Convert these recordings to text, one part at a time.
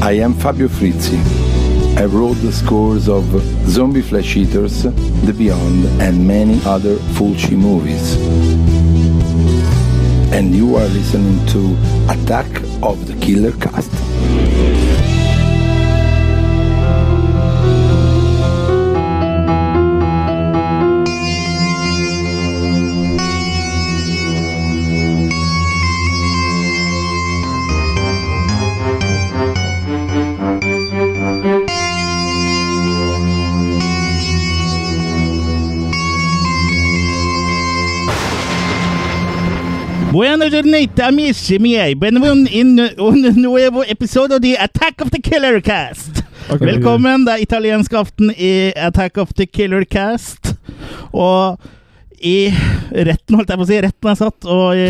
I am Fabio Frizzi. I wrote the scores of Zombie Flesh Eaters, The Beyond, and many other Fulci movies. And you are listening to Attack of the Killer Cast. Buongiorno amici miei, benvenuti in un nuovo episodio di Attack of the Killer Cast. Ok. Velkommen, det er italiensk aften i Attack of the Killer Cast. Og i retten, holdt jeg på å si, retten er satt, og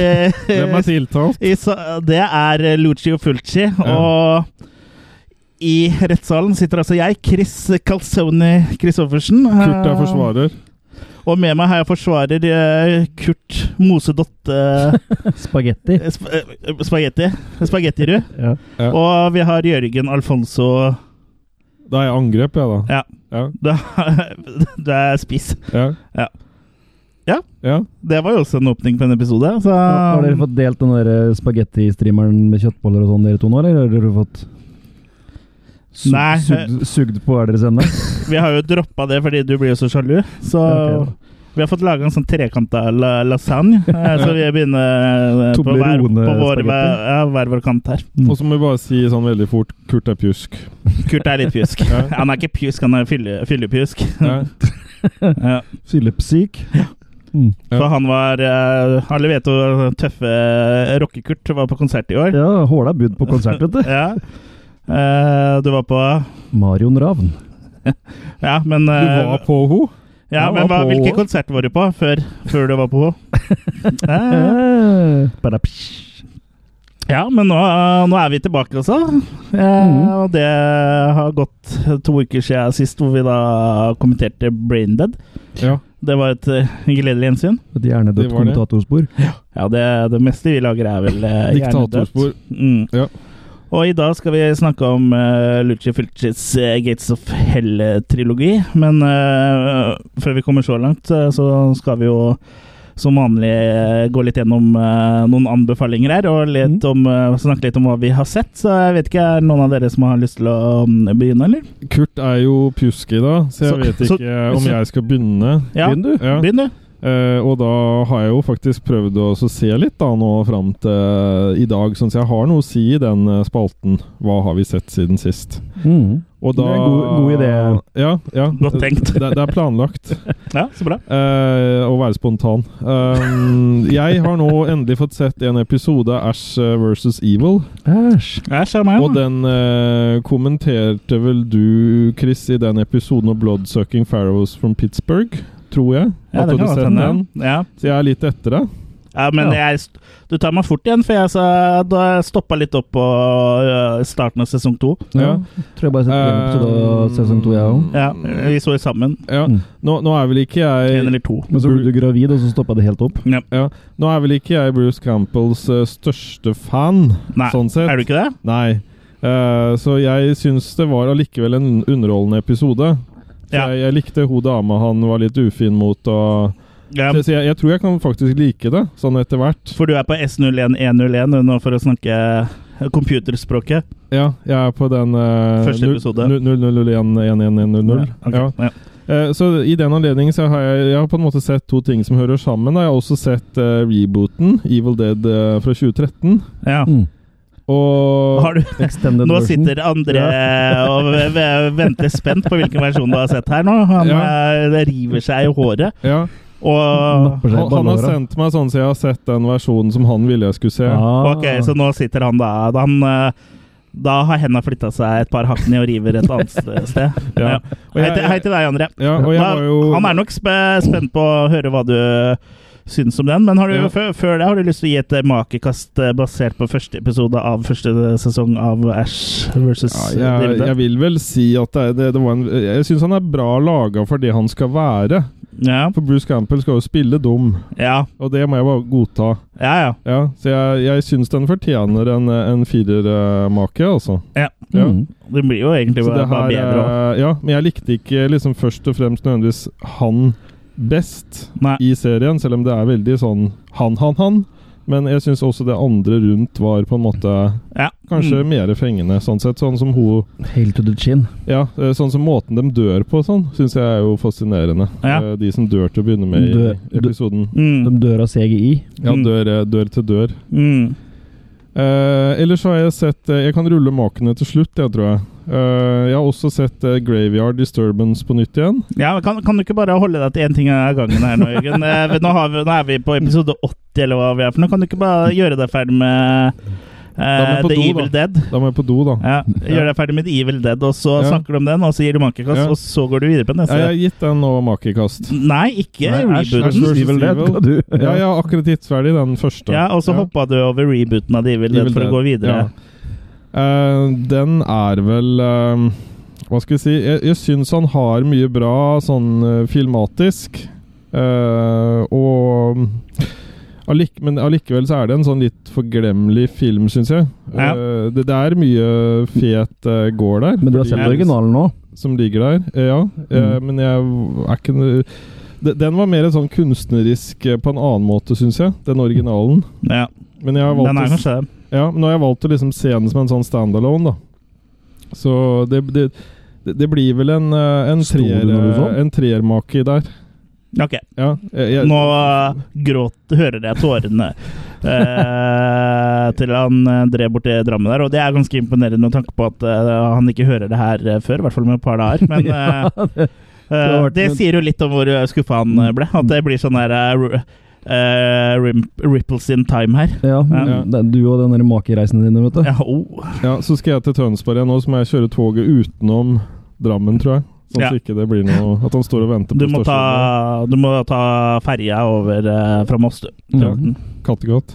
Hvem er i, tiltalt? i, sa- det er Lucio Fulci. Og i rettssalen sitter altså jeg, Chris Calzone Christoffersen. Kurt er eh, forsvarer. Og med meg har jeg forsvarer eh, Kurt Mosedott eh, Spagetti. Sp eh, spagetti. Spagettirud. Ja. Ja. Og vi har Jørgen Alfonso Da er jeg angrep, jeg, da. Ja. Ja. Du er, du er spiss. Ja. Ja. Ja. ja. Det var jo også en åpning på en episode. Så Har dere fått delt den der eh, spagetti-streameren med kjøttboller og sånn, dere to nå, eller har dere fått su- Nei. sugd, sugd på hver deres ende? vi har jo droppa det fordi du blir jo så sjalu. Så Ja, ok da. vi har fått laga en sånn trekanta la lasagne. eh, Så vi begynner eh, på hver, på vår, Toblerone-spagetti. hver, ja, hver vår kant her. Og så må vi bare si sånn veldig fort Kurt er pjusk. Kurt er litt pjusk. Ja. Han er ikke pjusk, han er fylle- fyllepjusk. Ja. Eh, Ja. Fyllepsyk. Mm. Ja. Så han var eh, Alle vet jo tøffe eh, rockekurt var på konsert i år. Ja, Håla bud på konsert, vet du. Ja. Eh, du var på Marion Ravn. Ja, men, Du eh, var på ho? ja, jeg men var hva, på- hvilke konserter var du på før, før du var på Ho? Eh, Eh, badapsj. ja, men nå, eh, nå er vi tilbake også. Eh, Mhm. Og det har gått to uker siden sist, hvor vi da kommenterte Braindead. Ja. Det var et eh, gledelig gjensyn. Et hjernedødt Det var det. kommentatorspor. Ja, det, det meste vi lager, er vel eh, Diktatorspor. Mm. Ja. Og i dag skal vi snakke om uh, Luci Fulcis eh, Gates of Hell-trilogi. Men eh, før vi kommer så langt, eh, så skal vi jo som vanlig eh, gå litt gjennom eh, noen anbefalinger her, og litt Mm. om, eh, snakke litt om hva vi har sett. Så jeg vet ikke, er det noen av dere som har lyst til å mm, begynne, eller? Kurt er jo pjusk i dag, så jeg Så- vet så- ikke eh, om så- jeg skal begynne. Ja. Begynn, du. Ja. Begynn, du. Eh, og da har jeg jo faktisk prøvd å så se litt da nå fram til i dag, sånn så jeg har noe å si i den eh, spalten. Hva har vi sett siden sist? Mm. Og Det da er en god- god idé. Ja, ja. Godt tenkt. Det, det er planlagt. Ja, så bra. Eh, å være spontan. Um, jeg har nå endelig fått sett en episode av Ash eh, versus Evil. Æsj. Ja, sjarmerende. Og den eh, kommenterte vel du, Chris, i den episoden om Bloodsucking Pharaohs from Pittsburgh, tror jeg. ja, At det du kan sett godt hende. Ja. Så jeg er litt etter deg. Ja, men jeg, du tar meg fort igjen, for jeg, sa, da stoppa litt opp på øh, starten av sesong to. Ja. Ja. Tror jeg bare setter en episode av sesong to, jeg òg. Ja, vi så jo sammen. Ja. Mm. Nå, nå er vel ikke En jeg eller to. Men så ble du gravid, og så stoppa det helt opp. Nå er vel ikke jeg Bruce Campbells eh, største fan, Nei, sånn sett. er du ikke det? Nei. Eh, så jeg syns det var allikevel en underholdende episode. Så Ja. Jeg, jeg likte hun dama han var litt ufin mot. Og, Ja, så så jeg, jeg tror jeg kan faktisk like det, sånn etter hvert. for du er på S01101 nå for å snakke computerspråket. Ja, jeg er på den uh, Første episode. 0011100. ok, Ja. ja. Eh, så i den anledning så har jeg, jeg har på en måte sett to ting som hører sammen. da. Jeg har også sett eh, rebooten, Evil Dead eh, fra 2013. Ja. Mm. Og Har du, Extended nå version. sitter André og v- v- venter spent på hvilken versjon du har sett her nå. Han eh, det river seg i håret. ja, Og Napper seg han, han har ballåra. sendt meg sånn så jeg har sett den versjonen som han ville jeg skulle se. Ah. Ok, så nå sitter han da han, eh, Da har henda flytta seg et par hakk ned og river et annet sted. Ja. Ja. Og Hei, jeg- til, hei til deg, André. Ja, og jeg Da, var jo han er nok spe, spent på å høre hva du syns om den, men har du, Ja. før, før det har du lyst til å gi et eh, makekast eh, basert på første episode av første eh, sesong av Ash versus eh, ja, jeg, David? jeg vil vel si at det, det, det var en Jeg syns han er bra laga for det han skal være. Ja, For Bruce Campbell skal jo spille dum, ja, og det må jeg bare godta. ja. ja. Ja, Så jeg, jeg syns den fortjener en, en firermake, altså. Ja. Mm. Det blir jo egentlig Så bare, det bare her, bedre òg. eh, ja, men jeg likte ikke liksom først og fremst nødvendigvis han best Nei. i serien, selv om det er veldig sånn han, han, han. Men jeg syns også det andre rundt var på en måte Ja. kanskje Mm. mer fengende, sånn sett. Sånn som hun Hail to the chin. Ja, eh, sånn som måten de dør på og sånn, syns jeg er jo fascinerende. Ja. Eh, De som dør til å begynne med i Dø- dø- episoden. De Mm. dør av CGI. Ja, Mm. dør, eh, dør til dør. Mm. Eh, ellers har jeg sett eh, Jeg kan rulle makene til slutt, jeg, tror jeg. Eh, jeg har også sett eh, Graveyard Disturbance på nytt igjen. Ja, men kan, kan du ikke bare holde deg til én ting av gangen her nå, Jørgen? Eh, vi- nå, har vi, nå er vi på episode 80, eller hva vi er for noe. Kan du ikke bare gjøre deg ferdig med eh, er vi på The do, da. Evil Dead? Da må jeg på do, da. Ja, Gjør deg ferdig med The Evil Dead, og så Ja. snakker du om den, og så gir du mankekast, Ja. og så går du videre på Ja, neste. jeg har gitt den nå makekast. Nei, ikke Nei, Ash- Ash rebooten. versus Evil Dead, Evil. ga du. Ja, jeg har akkurat gitt ferdig den første. Ja, og så hoppa du over rebooten av The Evil Dead Evil for å Dead, gå videre. ja. Eh, den er vel eh, Hva skal jeg si Jeg, jeg syns han har mye bra sånn eh, filmatisk. Eh, og allike, Men allikevel så er det en sånn litt forglemmelig film, syns jeg. Ja. Eh, det, det er mye fet eh, gård der. Men du har sett fordi- originalen nå? Mm. Som ligger der. Eh, ja. Eh, men jeg er ikke noe- De- Den var mer sånn kunstnerisk eh, på en annen måte, syns jeg. Den originalen. Ja, Men jeg har valgt Den å er kanskje det. ja, men nå har jeg valgt å liksom se den som en sånn standalone, da. Så det, det, det, det blir vel en, eh, en, Sto du treer, eh, når du så den? en treermake der. Ok, Ja, jeg, jeg, nå eh, gråt, hører jeg tårene eh, til han eh, drev borti Drammen der, og det er ganske imponerende med tanke på at eh, han ikke hører det her eh, før, i hvert fall med et par dager. Men eh, Ja, det- eh, vært det med- sier jo litt om hvor eh, skuffa han eh, ble. At det blir sånn der eh, ru- eh, rim- ripples in time her. ja, Ja. det er du og den der makereisen dine, vet du. Ja, oh. ja, så skal jeg til Tønsberg igjen nå, så må jeg kjøre toget utenom Drammen, tror jeg. Sånn Ja. at ikke det blir noe At han står og venter du, på må ta, stasjonen. du må ta ferja over eh, fra Moss, du. Ja. Kattegat.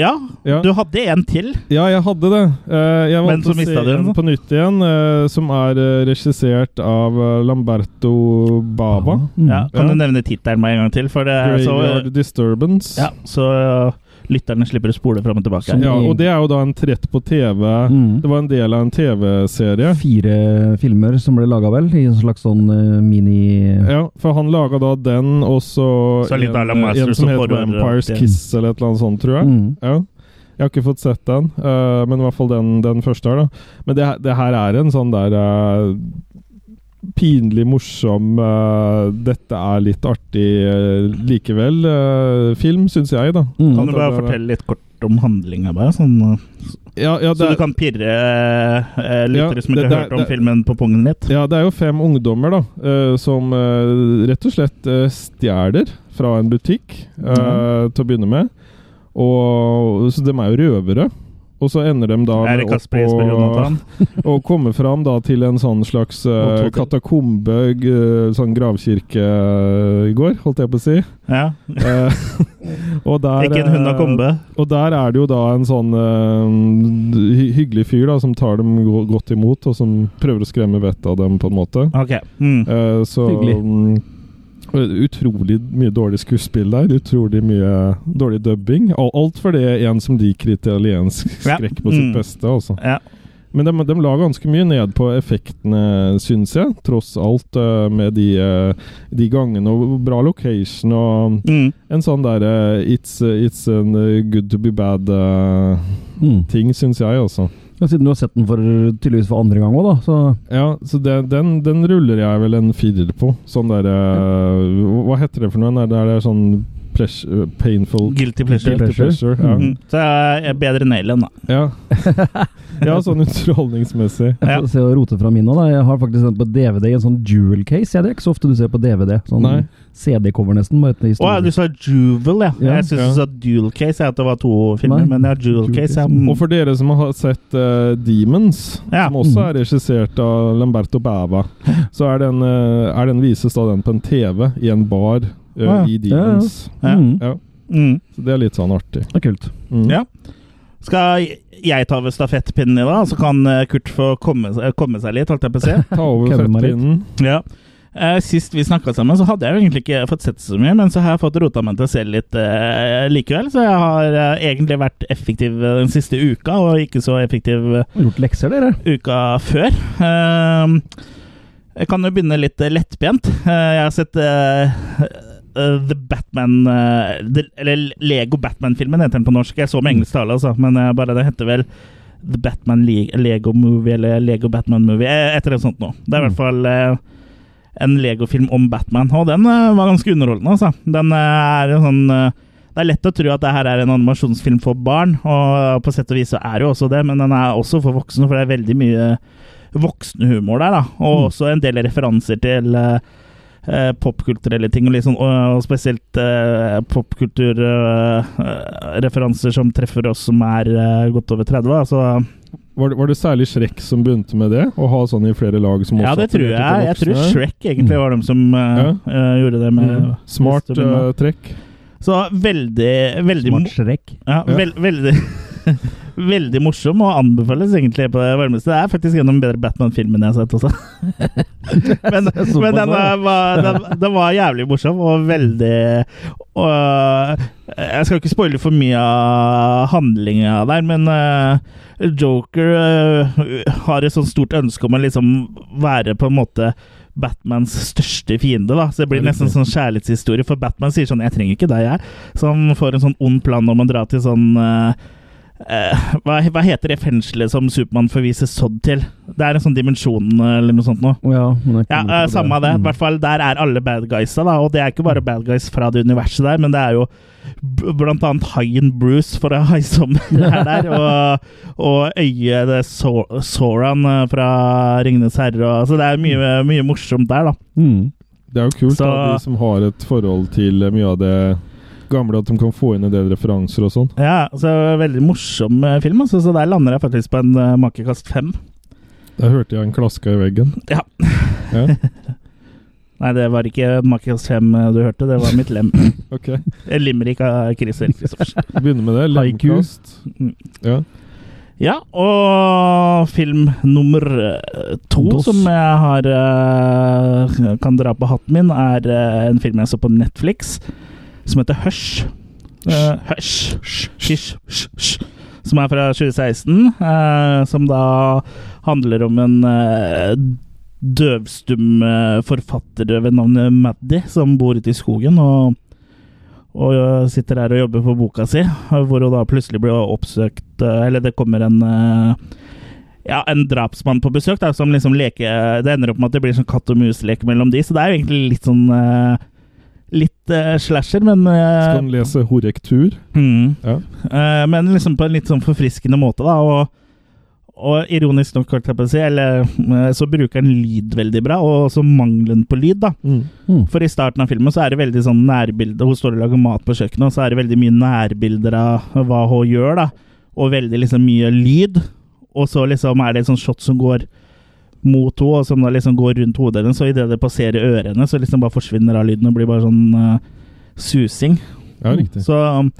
Ja, Ja. du hadde en til. ja, jeg hadde det. Eh, Jeg Men valgte så å se mistet du den, en da. på nytt igjen, eh, som er eh, regissert av eh, Lamberto Bava. Mm. Ja, kan du Ja. nevne tittelen med en gang til? For det er Eh, så Graveyard Disturbance. Ja, så uh, lytterne slipper å spole fram og tilbake. Som- Sånn, Ja, og det er jo da en trett på TV. Mm. Det var en del av en TV-serie. Fire filmer som ble laga, vel? I en slags sånn eh, mini... Ja, for han laga da den, og så, Så litt à la en, Masters en som of heter Horror, Vampires ja. Kiss, eller et eller annet sånt, tror jeg. Mm. Ja. Jeg har ikke fått sett den, eh, men i hvert fall den, den første her, da. Men det, her- det her er en sånn der eh, pinlig morsom eh, 'dette er litt artig eh, likevel' eh, film, syns jeg, da. Mm. Kan du bare fortelle litt kort om handlinga, bare? Sånn, uh, Ja, ja, så du det, kan pirre uh, uh, lyttere Ja, som ikke det- det- har hørt om det- filmen, på pungen litt? Ja, det er jo fem ungdommer da, eh, som eh, rett og slett eh, stjeler fra en butikk eh, Mhm. til å begynne med. Og, så de er jo røvere. Og så ender de da er det Kasper Jesper Jonathan? å komme fram da til en sånn slags eh, Og Totter. katakombe, eh, sånn gravkirke eh, i går, holdt jeg på å si. Ja. Eh, og der, Ikke en hund av eh, kombe? og der er det jo da en sånn eh, hy hyggelig fyr da, som tar dem go godt imot, og som prøver å skremme vettet av dem, på en måte. Ok. Mm. Eh, så Hyggelig. mm, Utrolig mye dårlig skuespill der. Utrolig mye dårlig dubbing. Al- Alt for det en som liker italiensk Ja. skrekk på Mm. sitt beste. Altså. Ja. Men de, de la ganske mye ned på effektene, syns jeg. Tross alt, eh, med de, eh, de gangene og bra location og Mm. en sånn derre it's, it's an eh, good to be bad-ting, Mm. syns jeg, altså. Ja, siden du har sett den for, tydeligvis for andre gang òg, da. Så Ja, så det, den, den ruller jeg vel en firer på. Sånn der eh, hva- Hva heter det for noe? Er det, er det sånn ples- eh, painful Guilty pleasure. Guilty pleasure? Ja. Mm. Så jeg er bedre enn Alien, da. Ja. ja, sånn underholdningsmessig. jeg Ja. får se å rote fra min nå, da. Jeg har faktisk den på DVD i en sånn jewel case. Ja, det er ikke så ofte du ser på DVD. Sånn Nei. CD-cover, nesten. Bare etter Å ja, historie. du sa Juvel, ja. Ja, jeg syns ja. du sa Dual Case, jeg, at det var to filmer. Nei, Men ja, Dual Jewel Case, Case. ja. Og for dere som har sett eh, Demons, Mm. Ja. som også er regissert av Lamberto Bava, så er den, eh, er den vises da den på en TV i en bar eh, Ah, ja. i Demons. Ja. mm. Ja. Mm. Så det er litt sånn artig. Det er kult. Mm. Ja. Skal jeg ta over stafettpinnen i dag, så kan eh, Kurt få komme, eh, komme seg litt, holdt jeg på å si? Ta over Kødder meg litt. fettpinnen. Ja. Eh, sist vi snakka sammen, så hadde jeg jo egentlig ikke fått sett så mye, men så har jeg fått rota meg til å se litt eh, likevel. Så jeg har eh, egentlig vært effektiv eh, den siste uka, og ikke så effektiv eh, Har Gjort lekser, dere. uka før. Ehm, Jeg kan jo begynne litt eh, lettbent. Eh, Jeg har sett eh, eh, The Batman eh, The- Eller Lego Batman-filmen heter den på norsk. Jeg så med engelsk tale, altså, men eh, bare det heter vel The Batman Le- Lego Movie eller Lego Batman Movie. eh, Et eller annet sånt noe. Det er i hvert fall eh, en Lego-film om Batman, og den eh, var ganske underholdende, altså. Den eh, er jo sånn eh, det er lett å tro at det her er en animasjonsfilm for barn, og på sett og vis så er det jo også det, men den er også for voksne, for det er veldig mye voksenhumor der, da. Og Mm. også en del referanser til eh, eh, popkulturelle ting, og, litt sånn, og, og spesielt eh, popkulturreferanser som treffer oss som er eh, godt over altså. 30. Da. Så Var det, var det særlig Shrek som begynte med det? Å ha sånn i flere lag som ja, også det tror appellerte jeg. til Jeg tror voksne? Shrek egentlig var dem som eh, eh, gjorde det med Mm. Smart Mr. Bimbo. eh, trekk. Så veldig, veldig Smart Shrek. Ja, Ja. vel- veldig Veldig morsom og anbefales egentlig på det varmeste. Det er faktisk en av de bedre Batman-filmene jeg har sett også. men Såpass, men den, ja. var- var, den, den var jævlig morsom og veldig og, eh, Jeg skal ikke spoile for mye av handlinga der, men eh, Joker eh, har et sånt stort ønske om å liksom være på en måte Batmans største fiende. da Så det blir nesten sånn kjærlighetshistorie, for Batman sier sånn 'Jeg trenger ikke deg, jeg'. Så han får en sånn ond plan om å dra til sånn eh, eh, hva, hva heter det fengselet som Supermann forviser Sodd til? Det er en sånn dimensjon eh, eller noe sånt noe. Å ja, men jeg Ja, kommer eh, ikke på samme det. I Mm. hvert fall der er alle bad guysa, da. Og det er ikke bare bad guys fra det universet der, men det er jo b- blant annet haien Bruce fra Haisommer er der, og, og øyet det So- Sauron eh, fra Ringenes herre, og Så det er mye, mye morsomt der, da. Mm. Det er jo kult Så- at de som har et forhold til eh, mye av det gamle, at de kan få inn en del referanser og sånn. Ja, så veldig morsom eh, film, altså. Så der lander jeg faktisk på en eh, makekast fem. Der hørte jeg en klaska i veggen. Ja. Ja, Nei, det var ikke makekast fem eh, du hørte, det var mitt lem. ok. Limerick av Christer Christoffersen. Begynner med det. Haiku. Lemkast. Mm. Ja. Ja, og film nummer eh, to Dos. som jeg har eh, kan dra på hatten min, er eh, en film jeg så på Netflix som heter Hush. Eh, Hush. Hush. Hush. Hush. Som er fra 2016, eh, som da handler om en eh, døvstum eh, forfatter ved navnet Maddy, som bor ute i skogen og, og eh, sitter her og jobber på boka si, eh, hvor hun da plutselig blir oppsøkt eh, Eller det kommer en eh, ja, en drapsmann på besøk, da, som liksom leker Det ender opp med at det blir sånn katt og mus-lek mellom de, så det er jo egentlig litt sånn eh, Litt eh, slasher, men eh, Skal han lese horrektur? Mm. Ja. Eh, men liksom på en litt sånn forfriskende måte, da. Og, og ironisk nok, holdt jeg på å si, eller, eh, så bruker han lyd veldig bra, og også mangelen på lyd, da. Mm. Mm. For i starten av filmen så er det veldig sånn nærbilde. Hun står og lager mat på kjøkkenet, og så er det veldig mye nærbilder av hva hun gjør, da. Og veldig liksom mye lyd. Og så liksom er det et sånt shot som går mot henne, og som da liksom går rundt hodet hennes. Og idet det passerer ørene, så liksom bare forsvinner av lyden og blir bare sånn eh, susing. Ja, riktig. Så um,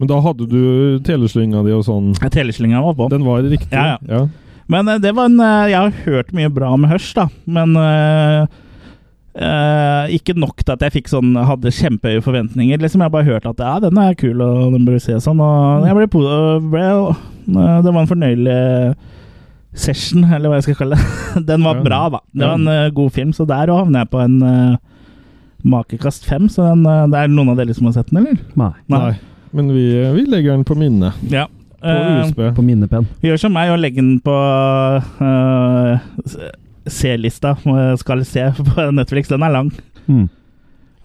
Men da hadde du teleslynga di og sånn. teleslinga var på. Den var riktig? Ja, ja. Men eh, det var en eh, Jeg har hørt mye bra med Hush, da. Men eh, eh, ikke nok til at jeg fikk sånn hadde kjempehøye forventninger. liksom Jeg har bare hørt at ja, den er kul, og den bør du se sånn. Og jeg ble, po- ble eh, Det var en fornøyelig session, eller hva jeg skal kalle det. Den var Ja. bra, da. Det Ja. var en eh, god film, så der havner jeg på en eh, makekast fem. Så den, eh, det er noen av dere som har sett den, eller? Nei. Nei. Men vi, eh, vi legger den på minnet. Ja. På Eh, USB. På minnepenn. Gjør som meg og legger den på øh, s- C-lista. øh, Skal se på Netflix. Den er lang. Mm.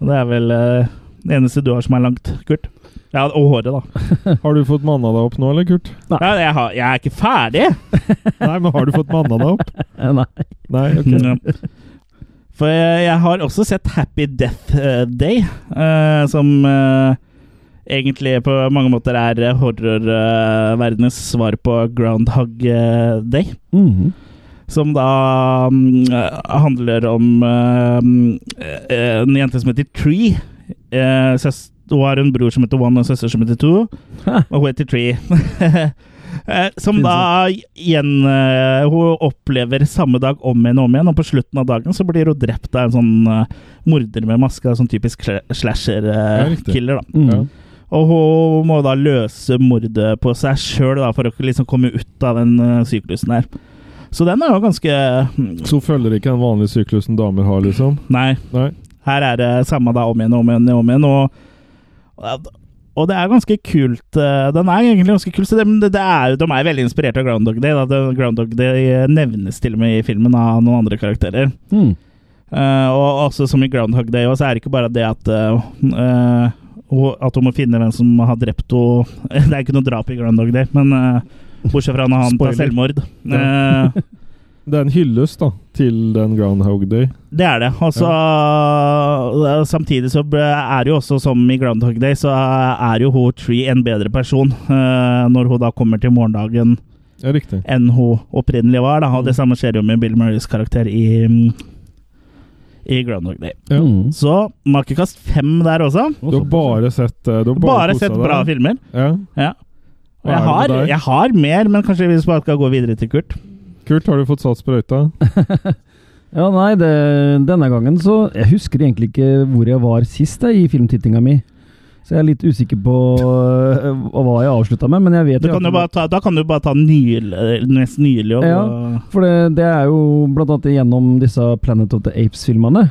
Det er vel øh, det eneste du har som er langt, Kurt. Ja, Og håret, da. Har du fått manna deg opp nå, eller, Kurt? Ja, jeg, har, jeg er ikke ferdig! Nei, men har du fått manna deg opp? Eh, Nei. Nei, ok. Mm, Ja. For jeg, jeg har også sett Happy Death eh, Day, eh, som eh, egentlig på mange måter er eh, horrorverdenens svar på Groundhog eh, Day. Mhm. Som da mm, eh, handler om eh, mm, eh, en jente som heter Tree. Eh, søs- hun har en bror som heter One, og en søster som heter Two. Hæ? Og hun heter Tree. Eh, som da igjen eh, Hun opplever samme dag om igjen og om igjen, og på slutten av dagen så blir hun drept av en sånn eh, morder med maske. da, Sånn typisk Ja, riktig. slasher-killer, da. Mm. Ja. Og hun må da løse mordet på seg sjøl for å liksom komme ut av den eh, syklusen her. Så den er jo ganske mm, Så følger ikke den vanlige syklusen damer har, liksom? Nei. Nei. Her er det samme da om igjen og om igjen og om igjen. Og, og det er ganske kult. eh, Den er egentlig ganske kul. Så det, det er, jo- de er veldig inspirert av Groundhog Day. Da. Det- Groundhog Day nevnes til og med i filmen av noen andre karakterer. Mm. Eh, og også som i Groundhog Day også, er det ikke bare det at eh, eh, hun- at hun må finne hvem som har drept henne. Det er ikke noe drap i Groundhog Day, men eh, bortsett fra når han tar Spoiler. selvmord. Eh, Det er en hyllest da, til den Groundhog Day. Det er det. Og så eh, Samtidig så ble- er det jo også som i Groundhog Day, så eh, er jo hun Tree en bedre person eh, når hun da kommer til morgendagen Ja, riktig. enn hun opprinnelig var. Da. Og det samme skjer jo med Bill Murrays karakter i, mm, i Groundhog Day. Ja. Mm. Så makekast fem der også. Du har bare sett eh, du har bare, Bare koset sett deg. bra filmer. Ja. Ja. Og Hva Jeg er det har, med deg? jeg har mer, men kanskje vi bare skal gå videre til Kurt. Kult, har du fått satt sprøyta? Ja, nei, det, denne gangen så Jeg husker egentlig ikke hvor jeg var sist jeg, i filmtittinga mi. Så jeg er litt usikker på øh, hva jeg avslutta med, men jeg vet Du i kan jo hvert fall- bare ta, da kan du bare ta nylig, mest nylig. Og, Ja. For det, det er jo blant annet gjennom disse Planet of the Apes-filmene.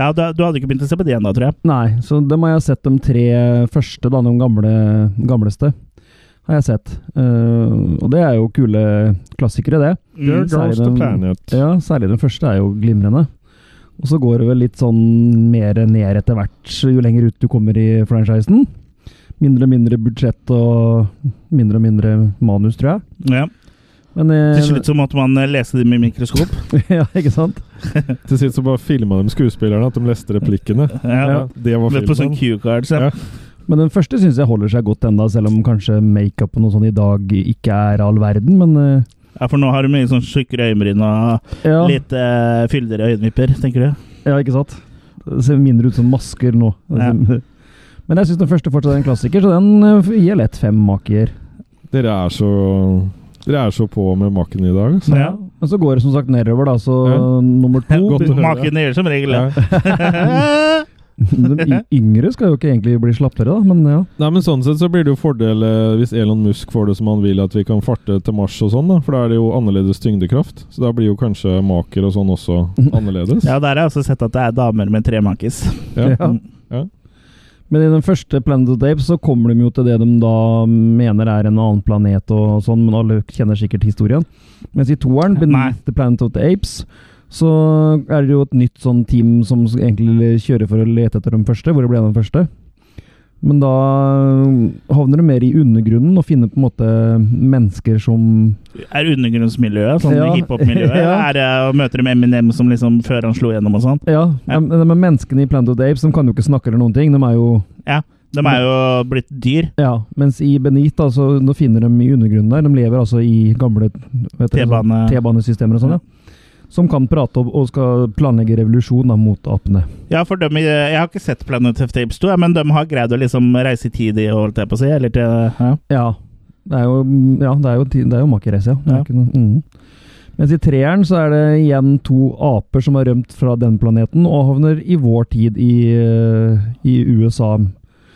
ja, du, du hadde ikke begynt å se på det ennå, tror jeg. Nei, så dem har jeg sett de tre første, da, de gamle, gamleste. Har jeg sett. Eh, og det er jo kule klassikere, det. There så er goes the den- planet. Ja, Særlig den første er jo glimrende. Og så går det vel litt sånn mer ned etter hvert jo lenger ut du kommer i franchisen. Mindre og mindre budsjett og mindre og mindre manus, tror jeg. Ja. Men, eh, Til slutt så måtte man eh, lese det med mikroskop. ja, ikke sant? Til sist så bare filma de skuespillerne at de leste replikkene. Ja. Det var Med På sånn filmen. Q-cards. Ja. Ja. Men den første syns jeg holder seg godt enda, selv om kanskje makeupen og sånn i dag ikke er all verden, men eh, Ja, for nå har du mye sånn tjukkere øyenbryn og ja, litt eh, fyldigere øyenvipper, tenker du? ja, ikke sant? Det ser mindre ut som masker nå. Ja. Men jeg syns den første fortsatt er en klassiker, så den eh, gir lett fem makier. Dere er så Dere er så på med maken i dag. altså. Ja. Men så går det som sagt nedover, da. Så Ja. nummer to Godt å høre. Maken gjør som regel det. Ja. De y- yngre skal jo ikke egentlig bli slappere, da, men ja. Nei, men Sånn sett så blir det jo fordel eh, hvis Elon Musk får det som han vil, at vi kan farte til Mars og sånn, da. For da er det jo annerledes tyngdekraft. Så da blir jo kanskje maker og sånn også annerledes. Ja, der har jeg også sett at det er damer med tre makis. Ja. Ja. Mm. Men i den første Planet of the Apes så kommer de jo til det de da mener er en annen planet og sånn, men alle kjenner sikkert historien. Mens i toeren, Nei. Beneath the Planet of the Apes, så er det jo et nytt sånn team som egentlig kjører for å lete etter den første, hvor det ble den første. Men da eh, havner de mer i undergrunnen og finner på en måte mennesker som Er undergrunnsmiljøet, sånn Ja. hiphop-miljøet? Ja. Er det å møte dem Eminem som liksom før han slo gjennom og sånn? Ja, ja. men men menneskene i Planet of the Apes de kan jo ikke snakke eller noen ting. De er jo De er jo blitt dyr. Ja, mens i Beneath, da, så nå finner de i undergrunnen der. De lever altså i gamle vet dere, sånn- T-bane. T-banesystemer og sånn, ja. Som kan prate om, og skal planlegge revolusjon da, mot apene. Ja, for dem, i- jeg har ikke sett Planet of Tapes 2, ja, men de har greid å liksom reise i tid i, holdt jeg på å si. Eller til ja. Ja. Det er jo, ja, det er jo, ti- det er jo makerrace, ja. Det er Ja. ikke noe- mhm. Mens i treeren så er det igjen to aper som har rømt fra den planeten og havner i vår tid i, eh, i USA.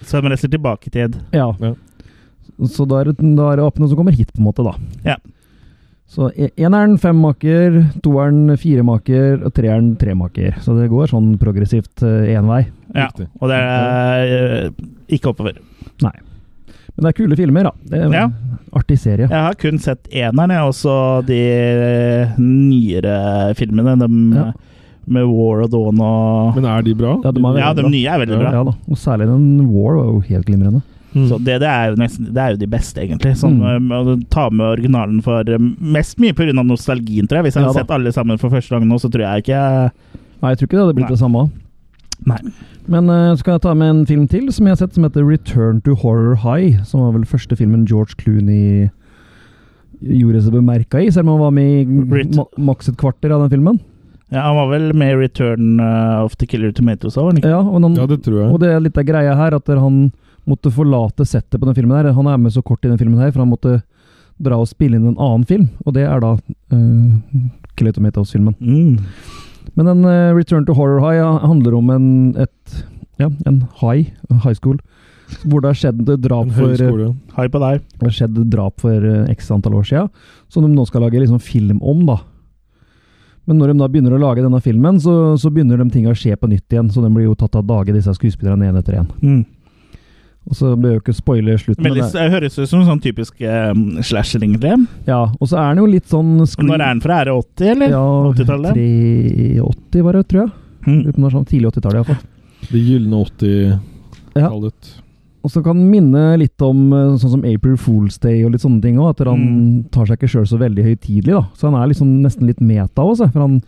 Så de reiser tilbake i tid. Ja. Ja. Så da er, det, da er det apene som kommer hit, på en måte, da. Ja. Så e- eneren fem maker, toeren fire maker og treeren tre maker. Så det går sånn progressivt én vei. Ja, Riktig. og det er eh, ikke oppover. Men det er kule filmer, da. Det er en Ja. Artig serie. Jeg har kun sett eneren, jeg, og så de nyere filmene. De Ja. med War og Dawn og Men er de bra? Ja, de er veldig Ja, de bra. nye er veldig Ja. bra. da. Og særlig den War var jo helt glimrende. Mm. Så det, det, er jo nesten, det er jo de beste, egentlig. Sånn, Mm. eh, å ta med originalen for eh, mest mye pga. nostalgien, tror jeg. Hvis jeg Ja, hadde da. sett alle sammen for første gang nå, så tror jeg ikke jeg- Nei, jeg tror ikke det hadde Nei. blitt det samme. Nei. Men eh, skal jeg ta med en film til som jeg har sett, som heter Return to Horror High. Som var vel første filmen George Clooney gjorde seg bemerka i, selv om han var med i Rit- ma maks et kvarter av den filmen. ja, Han var vel med i 'Return eh, of the Killer Tomatoes' òg, var han ikke? Ja, og, han, Ja, det tror jeg. og det er litt av greia her, at han måtte forlate settet på den filmen her. Han er med så kort i den filmen her, for han måtte dra og spille inn en annen film, og det er da uh, Kill It Tomatoes-filmen. Mm. Men en eh, Return to Horror High ja, handler om en, et, ja, en high, high school, hvor det har skjedd drap En for eh, høyskole. Hei på deg. det har skjedd drap for eh, x antall år siden, som de nå skal lage liksom film om, da. Men når de da begynner å lage denne filmen, så, så begynner de ting å skje på nytt igjen, så de blir jo tatt av dage, disse skuespillerne, én etter én. Mm. Og så bør jeg jo ikke spoile slutten. Veldig, men det, det høres ut som en sånn typisk eh, slasher, egentlig. ja, og så er den jo litt sånn Når er den fra? Er det 80, eller? Ja, 80-tallet? 83 var det, tror jeg. Mm. Lurer på om det er sånn Tidlig 80-tallet, iallfall. Det gylne 80-tallet. Og så kan minne litt om eh, sånn som April Fool's Day og litt sånne ting òg. At han tar seg ikke sjøl så veldig høytidelig, da. Så han er liksom nesten litt meta òg, for han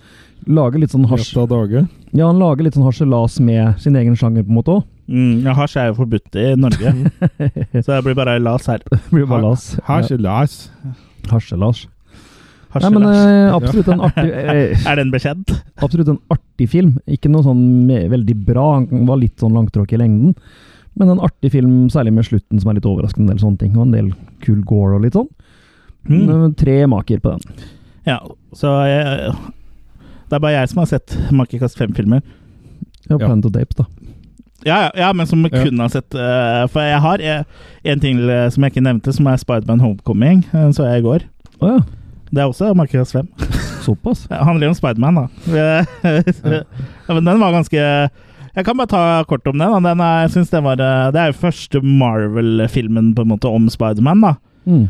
lager litt sånn hasj... Harsj av dage. Ja, han lager litt sånn harselas med sin egen sjanger, på en måte òg. Mm. Ja, hasj er jo forbudt i Norge, så det blir bare las her. Blir bare las. Her sier Lars. Ja, Harselas. Hasj Nei, men las. eh, absolutt en artig eh, Er den bekjent? absolutt en artig film. Ikke noe sånn me- veldig bra, han var litt sånn langtråkk i lengden. Men en artig film, særlig med slutten, som er litt overraskende, en del sånne ting, og en del cool gore og litt sånn. Mm. Men Tre maker på den. Ja, så jeg, Det er bare jeg som har sett Makekast 5-filmer. Ja, Ja. Planet of Dapes, da. Ja, ja, ja, men som Ja. kun har sett eh, For jeg har eh, en ting eh, som jeg ikke nevnte, som er Spiderman Homecoming. eh, så jeg i går. Å ja, Det er også Makekast 5. såpass? Det handler jo om Spiderman, da. ja, men den var ganske Jeg kan bare ta kort om den. Da. den er, jeg synes den var, eh, det er jo første Marvel-filmen på en måte om Spiderman. da. Mm.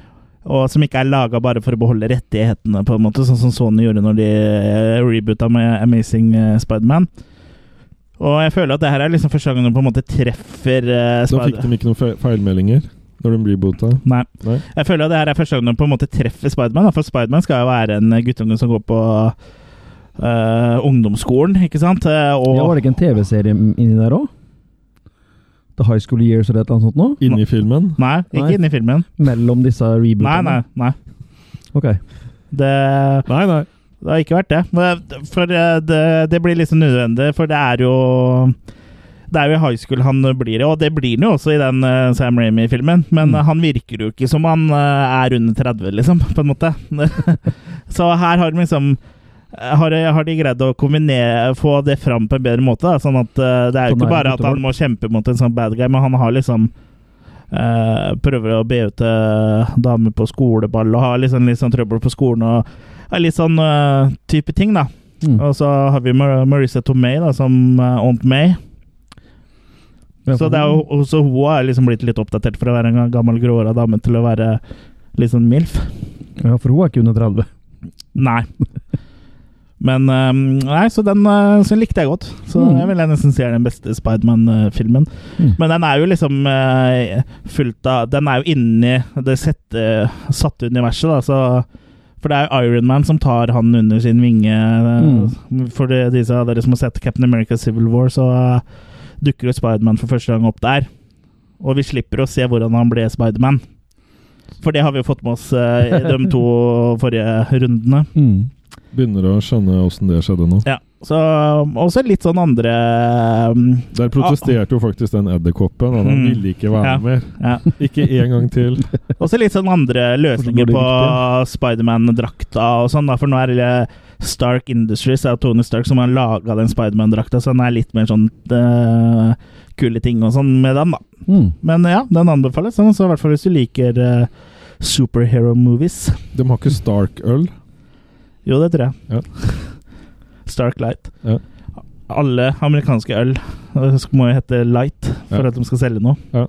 Og som ikke er laga bare for å beholde rettighetene, på en måte, sånn som Sony gjorde når de eh, reboota med Amazing eh, Spiderman. Og jeg føler at det her er liksom første gangen de på en måte treffer eh, Da fikk Spider... de ikke noen fe- feilmeldinger når de blir bota. Nei. Nei. Jeg føler at det her er første gangen de på en måte treffer Spiderman, da, for Spiderman skal jo være en guttunge som går på eh, ungdomsskolen, ikke sant? Eh, Og Ja, var det ikke en TV-serie inni der òg? The High School Years eller et eller annet sånt noe? Inni filmen. Nei, ikke Nei. inne i filmen. Mellom disse Nei, nei. rebootene? nei. Ok. Det Nei, nei. Det har ikke vært det. Men For eh, det, det blir liksom nødvendig, for det er jo det er jo i high school han blir det, og det blir han jo også i den eh, Sam Ramy-filmen. Men Mm. eh, han virker jo ikke som han eh, er under 30, liksom, på en måte. Så her har de liksom eh, har, de- har de greid å kombinere, få det fram på en bedre måte? Da, sånn at eh, det er jo Sånn er ikke det bare at utover. han må kjempe mot en sånn bad guy, men han har liksom eh, prøver å be ut eh, damer på skoleball og har liksom, litt sånn trøbbel på skolen og ja, litt sånn eh, type ting, da. Mm. Og så har vi Mar Marissa Tomei da, som eh, Aunt May. Så det er jo, også hun har liksom blitt litt oppdatert fra å være en gammel gråhåra dame til å være litt sånn MILF. Ja, for hun er ikke under 30. Nei. Men eh, Nei, så den eh, så likte jeg godt. Så Mm. jeg vil jeg nesten si er den beste Spiderman-filmen. Mm. Men den er jo liksom eh, fullt av Den er jo inni det sette, satte universet, da. Så, for det er jo Iron Man som tar han under sin vinge. eh, For de, de av dere som har sett Captain America Civil War, så eh, dukker jo Spiderman for første gang opp der. Og vi slipper å se hvordan han ble Spiderman. For det har vi jo fått med oss eh, i de to forrige rundene. Mm. Begynner å skjønne åssen det skjedde nå. Ja, så Også litt sånn andre um, Der protesterte jo faktisk den edderkoppen. og Han Mm. ville ikke være Ja. mer. ja. Ikke en gang til. Også litt sånn andre løsninger på Spiderman-drakta og sånn, da, for nå er det Stark Industries, det er jo Tony Stark som har laga den Spiderman-drakta, så den er litt mer sånn eh, kule ting og sånn med den, da. Mm. Men ja, den anbefales, sånn, så i hvert fall hvis du liker eh, superhero movies. De har ikke Stark-øl. Jo, det tror jeg. Ja. Stark Light. Ja. Alle amerikanske øl eh, sk- må jo hete Light for Ja. at de skal selge noe.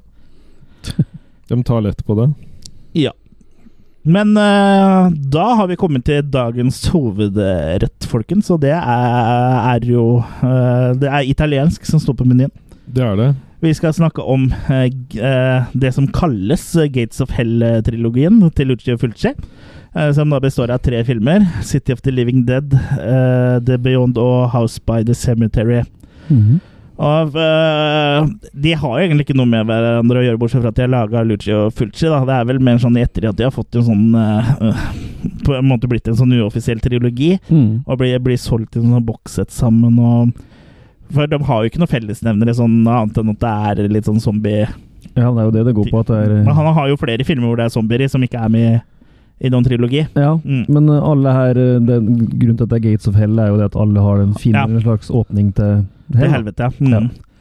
De tar lett på det. Men eh, da har vi kommet til dagens hovedrett, folkens, og det er, er jo eh, Det er italiensk som står på menyen. Det er det. Vi skal snakke om eh, g- eh, det som kalles eh, Gates of Hell-trilogien til Lucio Fulci. eh, som da består av tre filmer. City of the Living Dead, eh, The Beyond og House by the Cemetery. Mhm. Og, eh, de har jo egentlig ikke noe med hverandre å gjøre, bortsett fra at de har laga Lucio Fulci. Da. Det er vel mer sånn i ettertid at de har fått en sånn eh, eh, På en måte blitt en sånn uoffisiell trilogi. Mm. Og blir, blir solgt i en sånn bokssett sammen og For de har jo ikke noe fellesnevnere sånn annet enn at det er litt sånn zombie Ja, det er jo det det går på, at det er Men han har jo flere filmer hvor det er zombier i, som ikke er med i noen trilogi. Ja, Mm. men eh, alle her eh, den, Grunnen til at det er Gates of Hell, er jo det at alle har en fin Ja. en slags åpning til Til hell. helvete. Mm. Ja.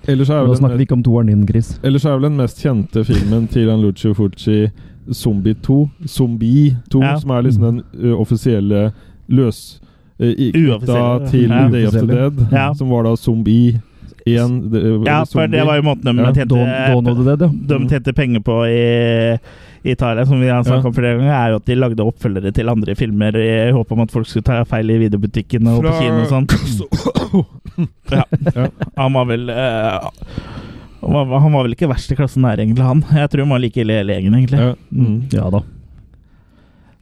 Ellers er, Da vel snakker den, vi ikke om toeren din, Chris. ellers er vel den mest kjente filmen til han Lucio Fucci Zombie 2. Zombie 2, Ja. som er liksom den ø, offisielle løs... ø, i- Uoffisielle, knytta ja. til Ja. Day of the Uoffisielle. Dead, Ja. som var da Zombie 1. det- ø, Ja, for zombie. det var jo måten de Ja, tjente Dawn, Dawn of the Dead, ja. de tjente penger på i, i Thailand, som vi har snakket Mm. Ja. om flere ganger, er jo at de lagde oppfølgere til andre filmer i håp om at folk skulle ta feil i videobutikken og på Fra- kino og sånn. Ja. Han var vel eh, han var- han var vel ikke verst i klassen der, egentlig, han. Jeg tror han var like ille i legen, egentlig. Ja. Mm. Ja da.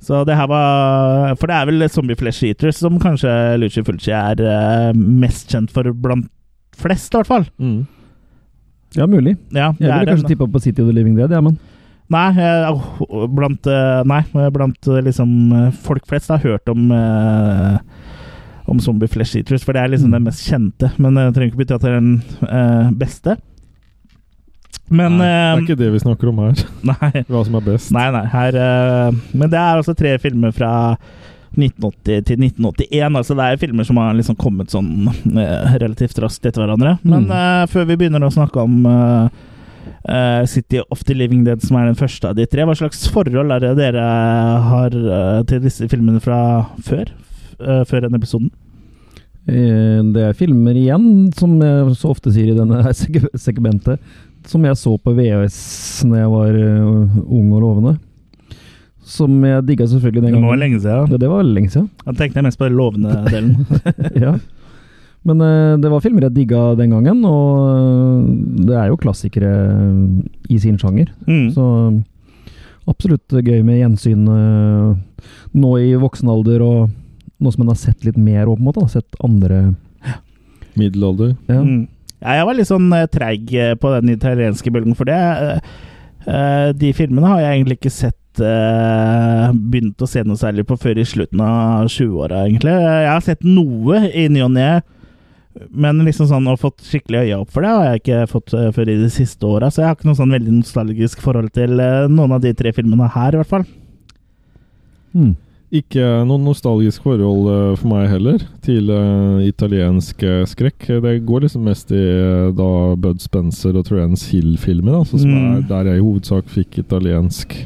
Så det her var For det er vel Zombie Flesh Eaters som kanskje Luci Fulci er eh, mest kjent for blant flest, i hvert fall. Mm. Ja, mulig. Ja, det Jeg er ville den. kanskje tippa på City of the Living Dead, ja, men Nei, eh, åh, blant, eh, nei, eh, blant eh, liksom, eh, folk flest har hørt om eh, om zombie flesh eaters, for det er liksom Mm. den mest kjente. Men det trenger ikke bety at det er den eh, beste. Men Nei, det er eh, ikke det vi snakker om her. nei, Hva som er best. nei, nei. Her, eh, men det er altså tre filmer fra 1980 til 1981. altså Det er filmer som har liksom kommet sånn eh, relativt raskt etter hverandre. Men eh, før vi begynner å snakke om eh, eh, City of the Living Dead, som er den første av de tre, hva slags forhold er det dere har eh, til disse filmene fra før? F- eh, før denne episoden? eh, det er filmer igjen, som jeg så ofte sier i denne her seg- segmentet, som jeg så på VHS når jeg var eh, ung og lovende. Som jeg digga selvfølgelig den gangen. lenge siden. Ja, det var lenge siden. Jeg tenkte mest på den lovende delen. ja. Men eh, det var filmer jeg digga den gangen, og eh, det er jo klassikere eh, i sin sjanger. Mm. Så eh, absolutt gøy med gjensyn eh, nå i voksen alder, og nå som en har sett litt mer, og på en måte har sett andre Middelalder. ja. Mm. Ja, jeg var litt sånn eh, treig eh, på den italienske bølgen for det. Eh, eh, De filmene har jeg egentlig ikke sett eh, Begynt å se noe særlig på før i slutten av 20-åra, egentlig. Eh, Jeg har sett noe i ny og ne, men liksom sånn å fått skikkelig øya opp for det har jeg ikke fått eh, før i de siste åra, så jeg har ikke noe sånn veldig nostalgisk forhold til eh, noen av de tre filmene her, i hvert fall. Mm. Ikke noe nostalgisk forhold eh, for meg heller til eh, italiensk eh, skrekk. Det går liksom mest i eh, da Bud Spencer og Trans Hill-filmer, altså, som Mm. er der jeg i hovedsak fikk italiensk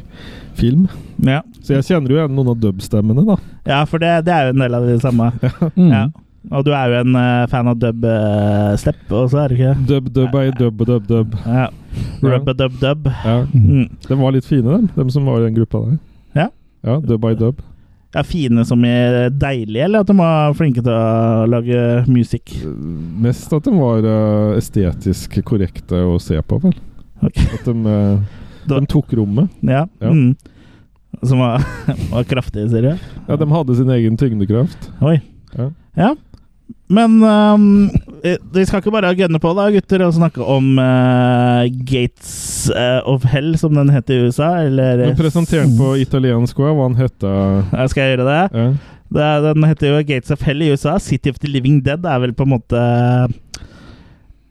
film. Ja, Så jeg kjenner jo igjen noen av dubstemmene, da. ja for det, det er jo en del av det samme. Mm. Ja. Og du er jo en eh, fan av dub eh, step, og så er du ikke det? Dub, dub, ei, dub, dub, dub. Ja. Rub-a-dub-dub. Ja. Mm. De var litt fine, dem, dem som var i den gruppa der. Ja. Ja, dub by dub. Ja, fine som er deilige, eller at de var flinke til å lage musikk? Eh, Mest at de var eh, estetisk korrekte å se på, vel. Ok. At de, eh, Da- de tok rommet. Ja. Ja. Mm. Som var, var kraftige, sier du? Ja, De hadde sin egen tyngdekraft. Oi. Ja. Men um, eh, vi skal ikke bare gønne på, da, gutter, og snakke om eh, Gates eh, of Hell, som den het i USA, eller De presenterte på italiensk òg, hva han hette. eh? Ja, Skal jeg gjøre det? Ja. det? er- Den heter jo Gates of Hell i USA. City of the Living Dead er vel på en måte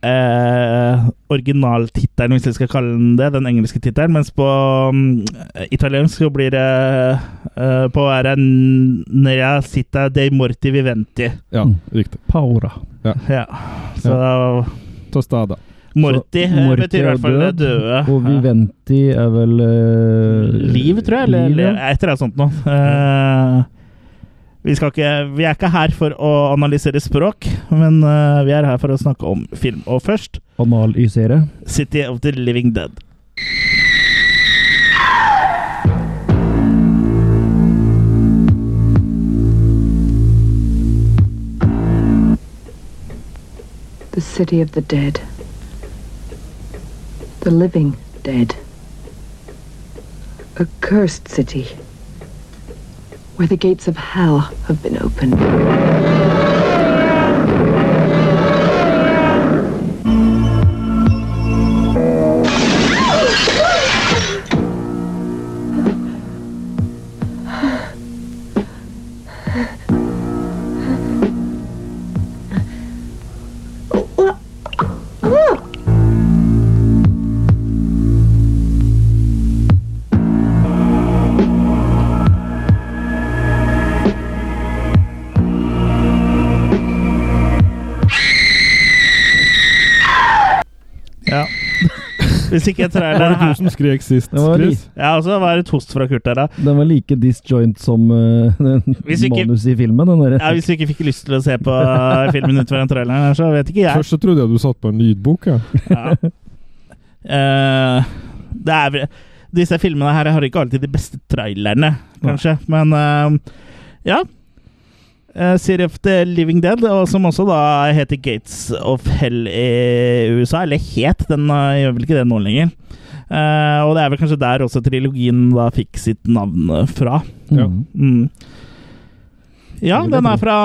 eh, originaltittelen, hvis vi skal kalle den det. Den engelske tittelen. Mens på mm, italiensk så blir det eh, På er det Nera Cita dei Morti Viventi. ja, Mm. riktig. Paura. Ja. Så Tostada. Morti, eh, Så Morti betyr i er hvert fall død, døde. Og Ja. Viventi er vel eh, Liv, tror jeg, eller, Liv, ja. eller et eller annet sånt noe. Eh, vi, skal ikke, vi er ikke her for å analysere språk, men eh, vi er her for å snakke om film. Og først Anal-ysere. City of the Living Dead. The city of the dead. The living dead. A cursed city. Where the gates of hell have been opened. Hvis ikke Var traileren det du her som skrek sist, Det var Chris? Ja, altså, hva er et host fra Kurt der, da? Den var like disjoint som eh, den Hvis ikke- manuset i filmen. Den der. Ja, hvis du ikke fikk lyst til å se på eh, filmen ut fra den traileren, her, så vet ikke jeg. Først så trodde jeg du satt på en lydbok. Ja. Ja. Eh, det er vel Disse filmene her har ikke alltid de beste trailerne, kanskje, men eh, ja. Uh, City of the Living Dead, og som også da heter Gates of Hell i USA. Eller het, den eh, gjør vel ikke det nå lenger. Eh, og det er vel kanskje der også trilogien da fikk sitt navn eh, fra. ja. Mm. Mm. Ja, Det den vil jeg tro. er fra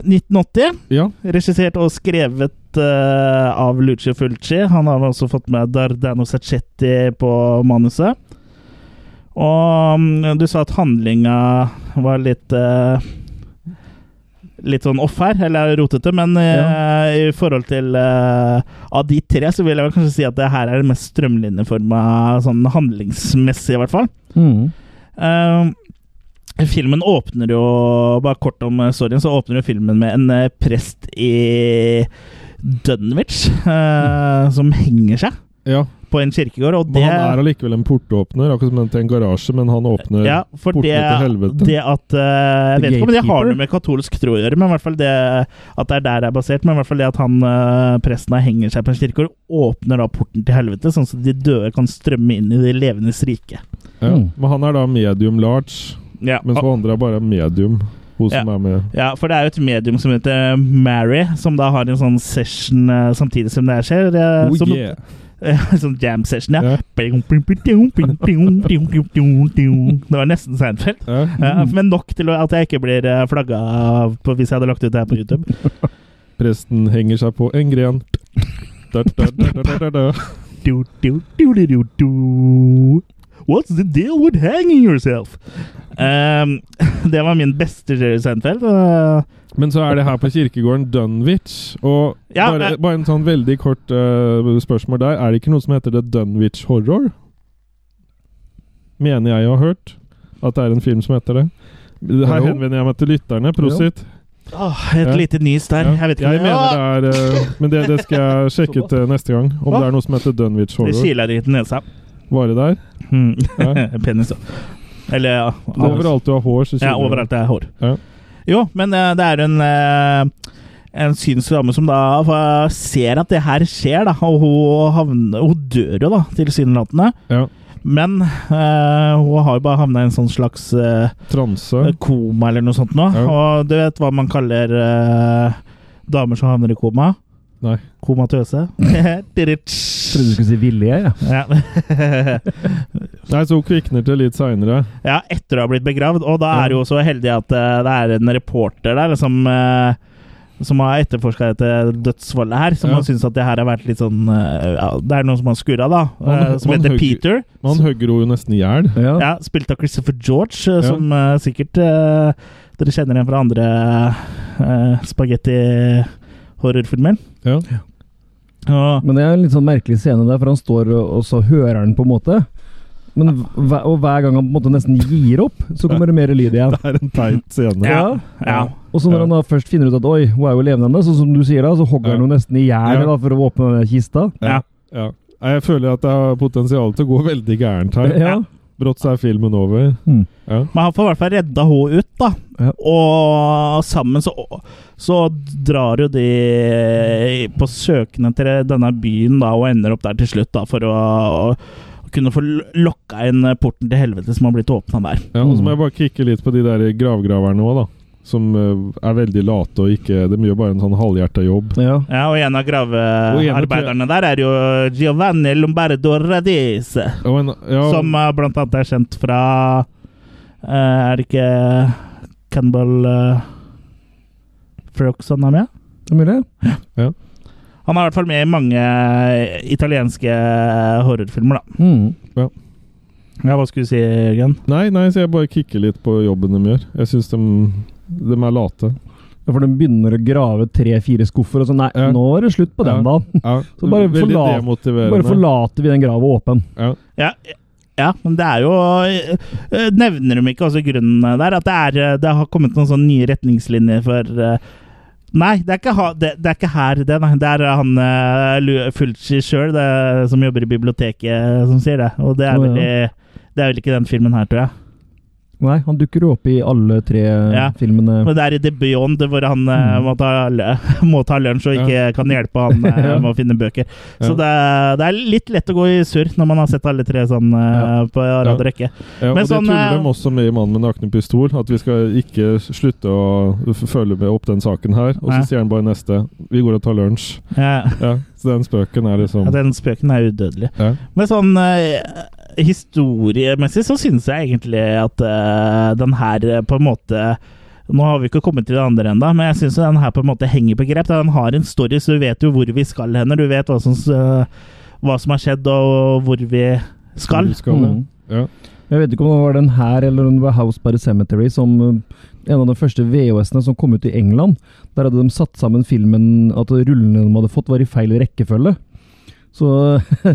1980. ja. Regissert og skrevet eh, av Lucio Fulci. Han har også fått med Dardano Sacchetti på manuset. Og mm, du sa at handlinga var litt eh, Litt sånn off her, eller rotete, men eh, i forhold til eh, av de tre, så vil jeg vel kanskje si at det her er det mest strømlinjeforma sånn handlingsmessig, i hvert fall. Mm. Eh, filmen åpner jo Bare kort om eh, storyen, så åpner jo filmen med en eh, prest i Dunwich eh, som henger seg ja. på en kirkegård, og det Men han er allikevel en portåpner, akkurat som en til en garasje, men han åpner ja, for portene det, til helvete. det at eh, Jeg The vet ikke om det har gatekeeper. noe med katolsk tro å gjøre, men i hvert fall det at det er der det er basert. Men i hvert fall det at han eh, presten her henger seg på en kirkegård, åpner da porten til helvete, sånn at de døde kan strømme inn i de levendes rike. Ja. Mm. Men han er da medium large, Ja, mens hun andre er bare medium. Hun Ah. Ja. som er med. Ja, for det er jo et medium som heter Mary, som da har en sånn session eh, samtidig som det her skjer. eh, Oh som, yeah! sånn jam session, ja. liksom Ja. Det var nesten Seinfeld. Ja. Ja, men nok til at jeg ikke blir eh, flagga av på, hvis jeg hadde lagt ut det her på YouTube. Presten henger seg på en gren. Da, da, da, da, da, da, da. Du, du, du, du, du, du. What's the deal with hanging yourself? Ehm, det var min beste serie Seinfeld. eh, Men så er det her på kirkegården Dunwich, og Ja, bare, eh. bare en sånn veldig kort eh, spørsmål der. Er det ikke noe som heter The Dunwich Horror? Mener jeg har hørt at det er en film som heter det. Her Jo. henvender jeg meg til lytterne. Prosit. åh, et Ah, Ja. lite nys der. Jeg vet ikke jeg mener det er eh, Men det, det skal jeg sjekke ut eh, neste gang. Om Hva? det er noe som heter Dunwich Det Horror. kiler i nesa. Var det der? Mm. Ja. Penis, ja. Eller ja. Overalt du har hår, så kiler Ja, det. overalt det er hår. Ja. Jo, men eh, det er en eh, en synsk dame som da eh, ser at det her skjer, da, og hun, havner, hun dør jo, da, tilsynelatende. Ja. Men eh, hun har jo bare havna i en sånn slags eh, Transe. koma eller noe sånt nå. Ja. Og du vet hva man kaller eh, damer som havner i koma? Nei. Komatøse. Trodde du skulle si ville jeg, ja. ja. Nei, så hun kvikner til litt seinere. Ja, etter å ha blitt begravd. Og da er Ja. du jo så heldig at eh, det er en reporter der som, eh, som har etterforska dette dødsfallet her, som Ja. har syntes at det her har vært litt sånn eh, ja, Det er noen som har skurra, da, eh, Man- som man heter hugger- Peter. Man hugger henne jo nesten i hjel. Ja. Ja, Spilt av Christopher George, eh, Ja. som eh, sikkert eh, dere kjenner igjen fra andre eh, spagetti-horrorfilmer. Ja. Og Men det er en litt sånn merkelig scene der, for han står og, og så hører han på en måte. Men hver, og hver gang han på en måte nesten gir opp, så kommer det mer lyd igjen. Det er en teit scene. Ja. ja. Og så Ja. når han da først finner ut at oi, hun er jo levende ennå, sånn som du sier da, så hogger han Ja. henne nesten i hjel Ja. da, for å åpne den kista. Ja. Ja. Nei, Jeg føler at det har potensial til å gå veldig gærent her. Ja. Brått så er filmen over. Mm. Ja. Men han får i hvert fall redda henne ut, da. Ja. Og sammen så, så drar jo de på søkende til denne byen, da, og ender opp der til slutt, da, for å, å kunne få l- lokka inn porten til helvete som har blitt åpna der. Ja, og så må jeg bare kikke litt på de der gravgraverne òg, da. Som eh, er veldig late og ikke De gjør bare en sånn halvhjerta jobb. Ja. Ja, Og en av Og en av gravearbeiderne der er jo Giovanni Lombardo Radise, Og en, ja, som eh, blant annet er kjent fra eh, Er det ikke Cannibal uh, Frox han er med? Det er mulig. Han er i hvert fall med i mange eh, italienske eh, horrorfilmer, da. Mm. Ja, hva skulle du si, Jørgen? Nei, nei, så jeg bare kikker litt på jobben de gjør. Jeg syns de, de er late. Ja, For de begynner å grave tre-fire skuffer, og så nei, Ja. nå er det slutt på den, Ja. da. Ja, Så bare veldig forlat- demotiverende. Bare forlater vi den grava åpen. ja. Ja, ja, men det er jo eh, Nevner de ikke også grunnen der? At det, er, eh, det har kommet noen sånne nye retningslinjer for eh, Nei, det er ikke, ha, det, det er ikke her, det. Nei. Det er eh, han uh, Fulci sjøl som jobber i biblioteket, eh, som sier det. Og det er Å, ja. vel, i, det er vel ikke den filmen her, tror jeg. Nei, han dukker jo opp i alle tre Ja. filmene. Men det er i The Beyond hvor han eh, Mm. må, ta, l- må ta lunsj og ikke kan hjelpe han eh, Ja. med å finne bøker. Så Ja. det, er- det er litt lett å gå i surr når man har sett alle tre sånn eh, på rad og rekke. Ja, og Men det sånn, tuller eh, de også med i 'Mannen med nakne pistol'. At vi skal ikke slutte å f- følge med opp den saken her. Og Nei. så sier han bare neste 'Vi går og tar lunsj'. Ja. Ja, så den spøken er liksom Ja, den spøken er udødelig. ja. Men sånn eh, historiemessig så synes jeg egentlig at eh, den her eh, på en måte nå har vi ikke kommet til det andre enda, men jeg syns den her på en måte henger på grep. Den har en story, så du vet jo hvor vi skal hen. og Du vet hva som, s- eh, hva som har skjedd, og hvor vi skal. ja. Mm. Ja. Jeg vet ikke om det var den her eller om det var House by the Cemetery som eh, en av de første VHS-ene som kom ut i England. Der hadde de satt sammen filmen at rullene de hadde fått, var i feil rekkefølge. Så,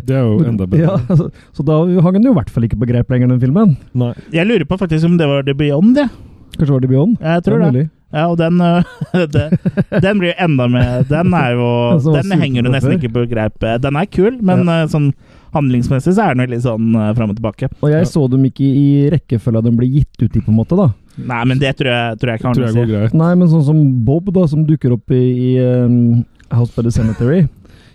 Det er Mm. jo enda bedre. ja, altså, så da hang den jo i hvert fall ikke på grep lenger, den filmen. Nei. Jeg lurer på faktisk om det var The Beyond, jeg. Kanskje var det Beyond? Jeg tror Ja, det. mulig. Ja, og den, øh, det, den blir jo enda med Den er Den jo som var Den henger jo superpopulær. nesten ikke på greip. Den er kul, men øh, sånn handlingsmessig så er den jo litt sånn øh, fram og tilbake. Og jeg Ja. så dem ikke i rekkefølge de ble gitt ut i, på en måte. da. Nei, men det tror jeg, tror jeg ikke har Tror noe jeg å går si. greit. Nei, men sånn som Bob, da, som dukker opp i, i um, House by the Cemetery.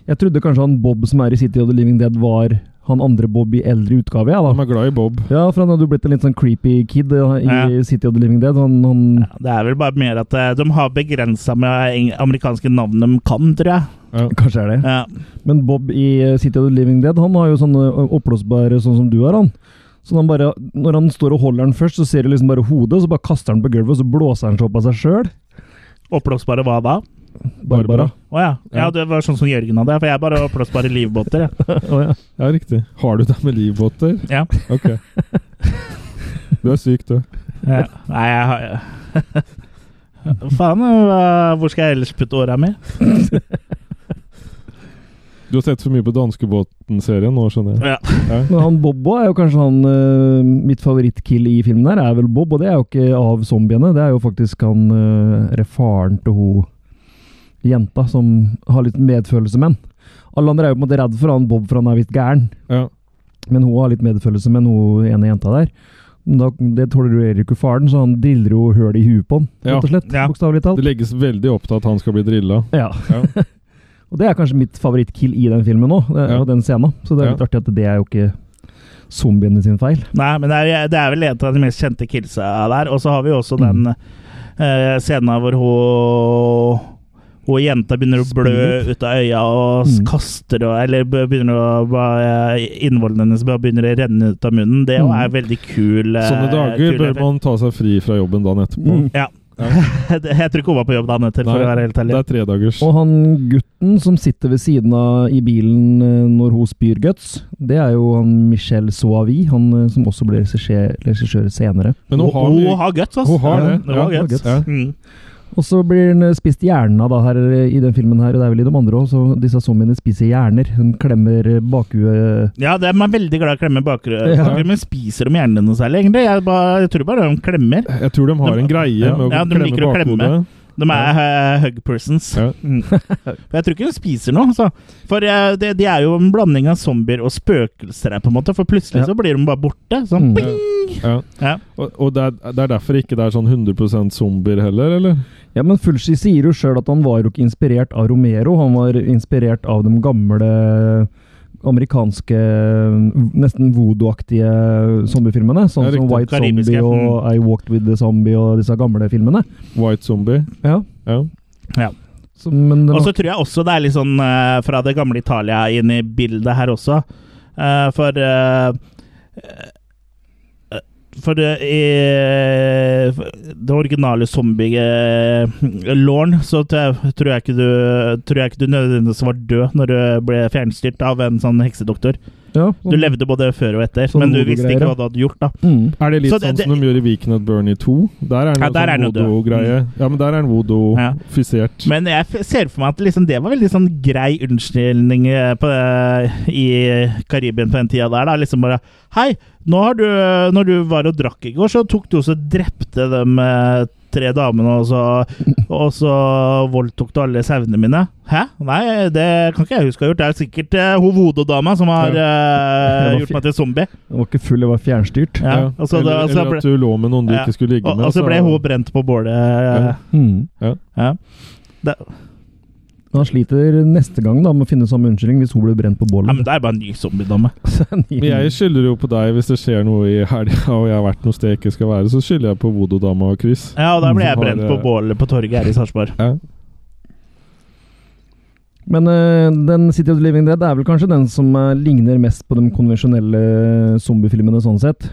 Jeg trodde kanskje han Bob som er i City of the Living Dead, var han andre Bob i eldre utgave. Ja, De da. er glad i Bob. ja, for han hadde jo blitt en litt sånn creepy kid eh, i Ja. City of the Living Dead. Han, han, Ja, det er vel bare mer at øh, de har begrensa med eh, eng- amerikanske navn de kan, tror jeg. Ja. Kanskje er det. Ja, Men Bob i eh, City of the Living Dead han har jo sånne eh, oppblåsbare sånn som du har, han. Så han bare, Når han står og holder den først, så ser du liksom bare hodet, og så bare kaster han på gulvet, og så blåser han seg opp av seg sjøl. Oppblåsbare hva da? Barbara. Å ja. ja. Ja. Det var sånn som Jørgen hadde, for jeg er bare oppblåsbare livbåter. jeg. Å, ja. Ja, riktig. Har du deg med livbåter? Ja. Ok. Du er syk, du. Ja. Nei, jeg har Faen, øh, hvor skal jeg ellers putte åra mi? Du har sett for mye på Danskebåten-serien nå, skjønner jeg. Ja. Ja. Men han Bob også er jo kanskje han eh, Mitt favorittkill i filmen her er vel Bob, og det er jo ikke av zombiene. Det er jo faktisk han eh, er faren til hun jenta som har litt medfølelse med han. Alle andre er jo på en måte redd for han Bob, for han er litt gæren. Ja. Men hun har litt medfølelse med hun ene jenta der. Men da, det tolererer jo ikke faren, så han driller jo høl i huet på han, Ja. rett og slett. Ja. Bokstavelig talt. Det legges veldig opp til at han skal bli drilla. Ja. Ja. Og det er kanskje mitt favorittkill i den filmen òg, Ja. og den scenen. Så det er litt artig at det er jo ikke zombiene sin feil. Nei, men det er, det er vel en av de mest kjente killsa der. Og så har vi jo også den Mm. eh, scenen hvor hun hun jenta begynner å blø Spyr ut av øya og s- Mm. kaster og Eller be- begynner å ba- Innvollene hennes bare begynner å renne ut av munnen. Det jo Mm. er veldig kul. eh, Sånne dager kul bør effekt. man ta seg fri fra jobben dagen etterpå. Mm. Ja. Ja. Jeg tror ikke hun var på jobb dagen etter, for å Nei, være helt Det ærlig. er tredagers. Og han gutten som sitter ved siden av i bilen eh, når hun spyr guts, det er jo han Michel Soavi, han eh, som også ble regissør regissør senere. Men hun har hun mye har guts, ass. Hun har det. Hun har Ja, guts. ja. Mm. Og så blir han eh, spist hjernen av da her eh, i den filmen her, og det er vel i de andre òg, så disse zombiene spiser hjerner. De klemmer eh, bakhuet Ja, de er veldig glad i å klemme bakgrunn. Ja. Men spiser de hjernen noe særlig, egentlig? Jeg, bare, jeg tror bare de klemmer. Jeg tror de har en greie med å Ja, de liker klemme å klemme. bakhodet. De er eh, hug persons. Ja. Mm. For jeg tror ikke hun spiser noe. Så. For eh, det, de er jo en blanding av zombier og spøkelser her, på en måte. For plutselig Ja. så blir de bare borte. Sånn Mm. ping! Ja. Ja. Og, og det, er, det er derfor ikke det er sånn 100 zombier heller, eller? Ja, men Fulci sier jo sjøl at han var jo ikke inspirert av Romero, han var inspirert av de gamle amerikanske, nesten voodoo-aktige zombiefilmene. Sånn Ja, som riktig. White Karibiske, Zombie og I Walked With The Zombie og disse gamle filmene. White zombie. Ja, Ja. så, men det Og var, så tror jeg også det er litt sånn eh, fra det gamle Italia inn i bildet her også. Eh, for eh, eh, For det, i det originale zombie-låren, så t- tror jeg, ikke du, tror jeg ikke du nødvendigvis var død når du ble fjernstyrt av en sånn heksedoktor. ja, Du levde både før og etter, Sånn men du visste hodegreier, ikke ja. hva du hadde gjort. da Mm. Er det litt Så det- sånn som de gjør i Viken at Bernie 2? Der er det Ja, en der er sånn den jo død. Mm. voodoo-greie. Ja, men der er den Ja. voodoo-fisert. Men jeg f- ser for meg at liksom, det var veldig sånn grei unnskyldning eh, på, eh, i Karibien på den tida der. Da. Liksom bare Hei, nå har du, når du var og drakk i går, så tok du også og drepte de eh, tre damene, og så, og så voldtok du alle sauene mine. Hæ? Nei, det kan ikke jeg huske å ha gjort. Det er sikkert eh, hovododama som har eh, Det var gjort meg til zombie. Jeg var ikke full, jeg var fjernstyrt. Ja, Ja. og så eller, da- og så eller ble- at du lå med noen du Ja. ikke skulle ligge Og, med. og så ble hun brent på bålet. eh, Mm. Ja. Det, Men han sliter neste gang da med å finne samme unnskyldning hvis hun blir brent på ja, men bålet. det er bare en ny zombiedame. Men jeg skylder jo på deg hvis det skjer noe i helga og jeg har vært noe sted jeg ikke skal være. Så skylder jeg på Vodo-dama og Chris. Ja, og da Mm, ble jeg Har, brent på eh, bålet på torget her i Sarpsborg. Ja. Men eh, den City of the Living Dead er vel kanskje den som eh, ligner mest på de konvensjonelle zombiefilmene sånn sett.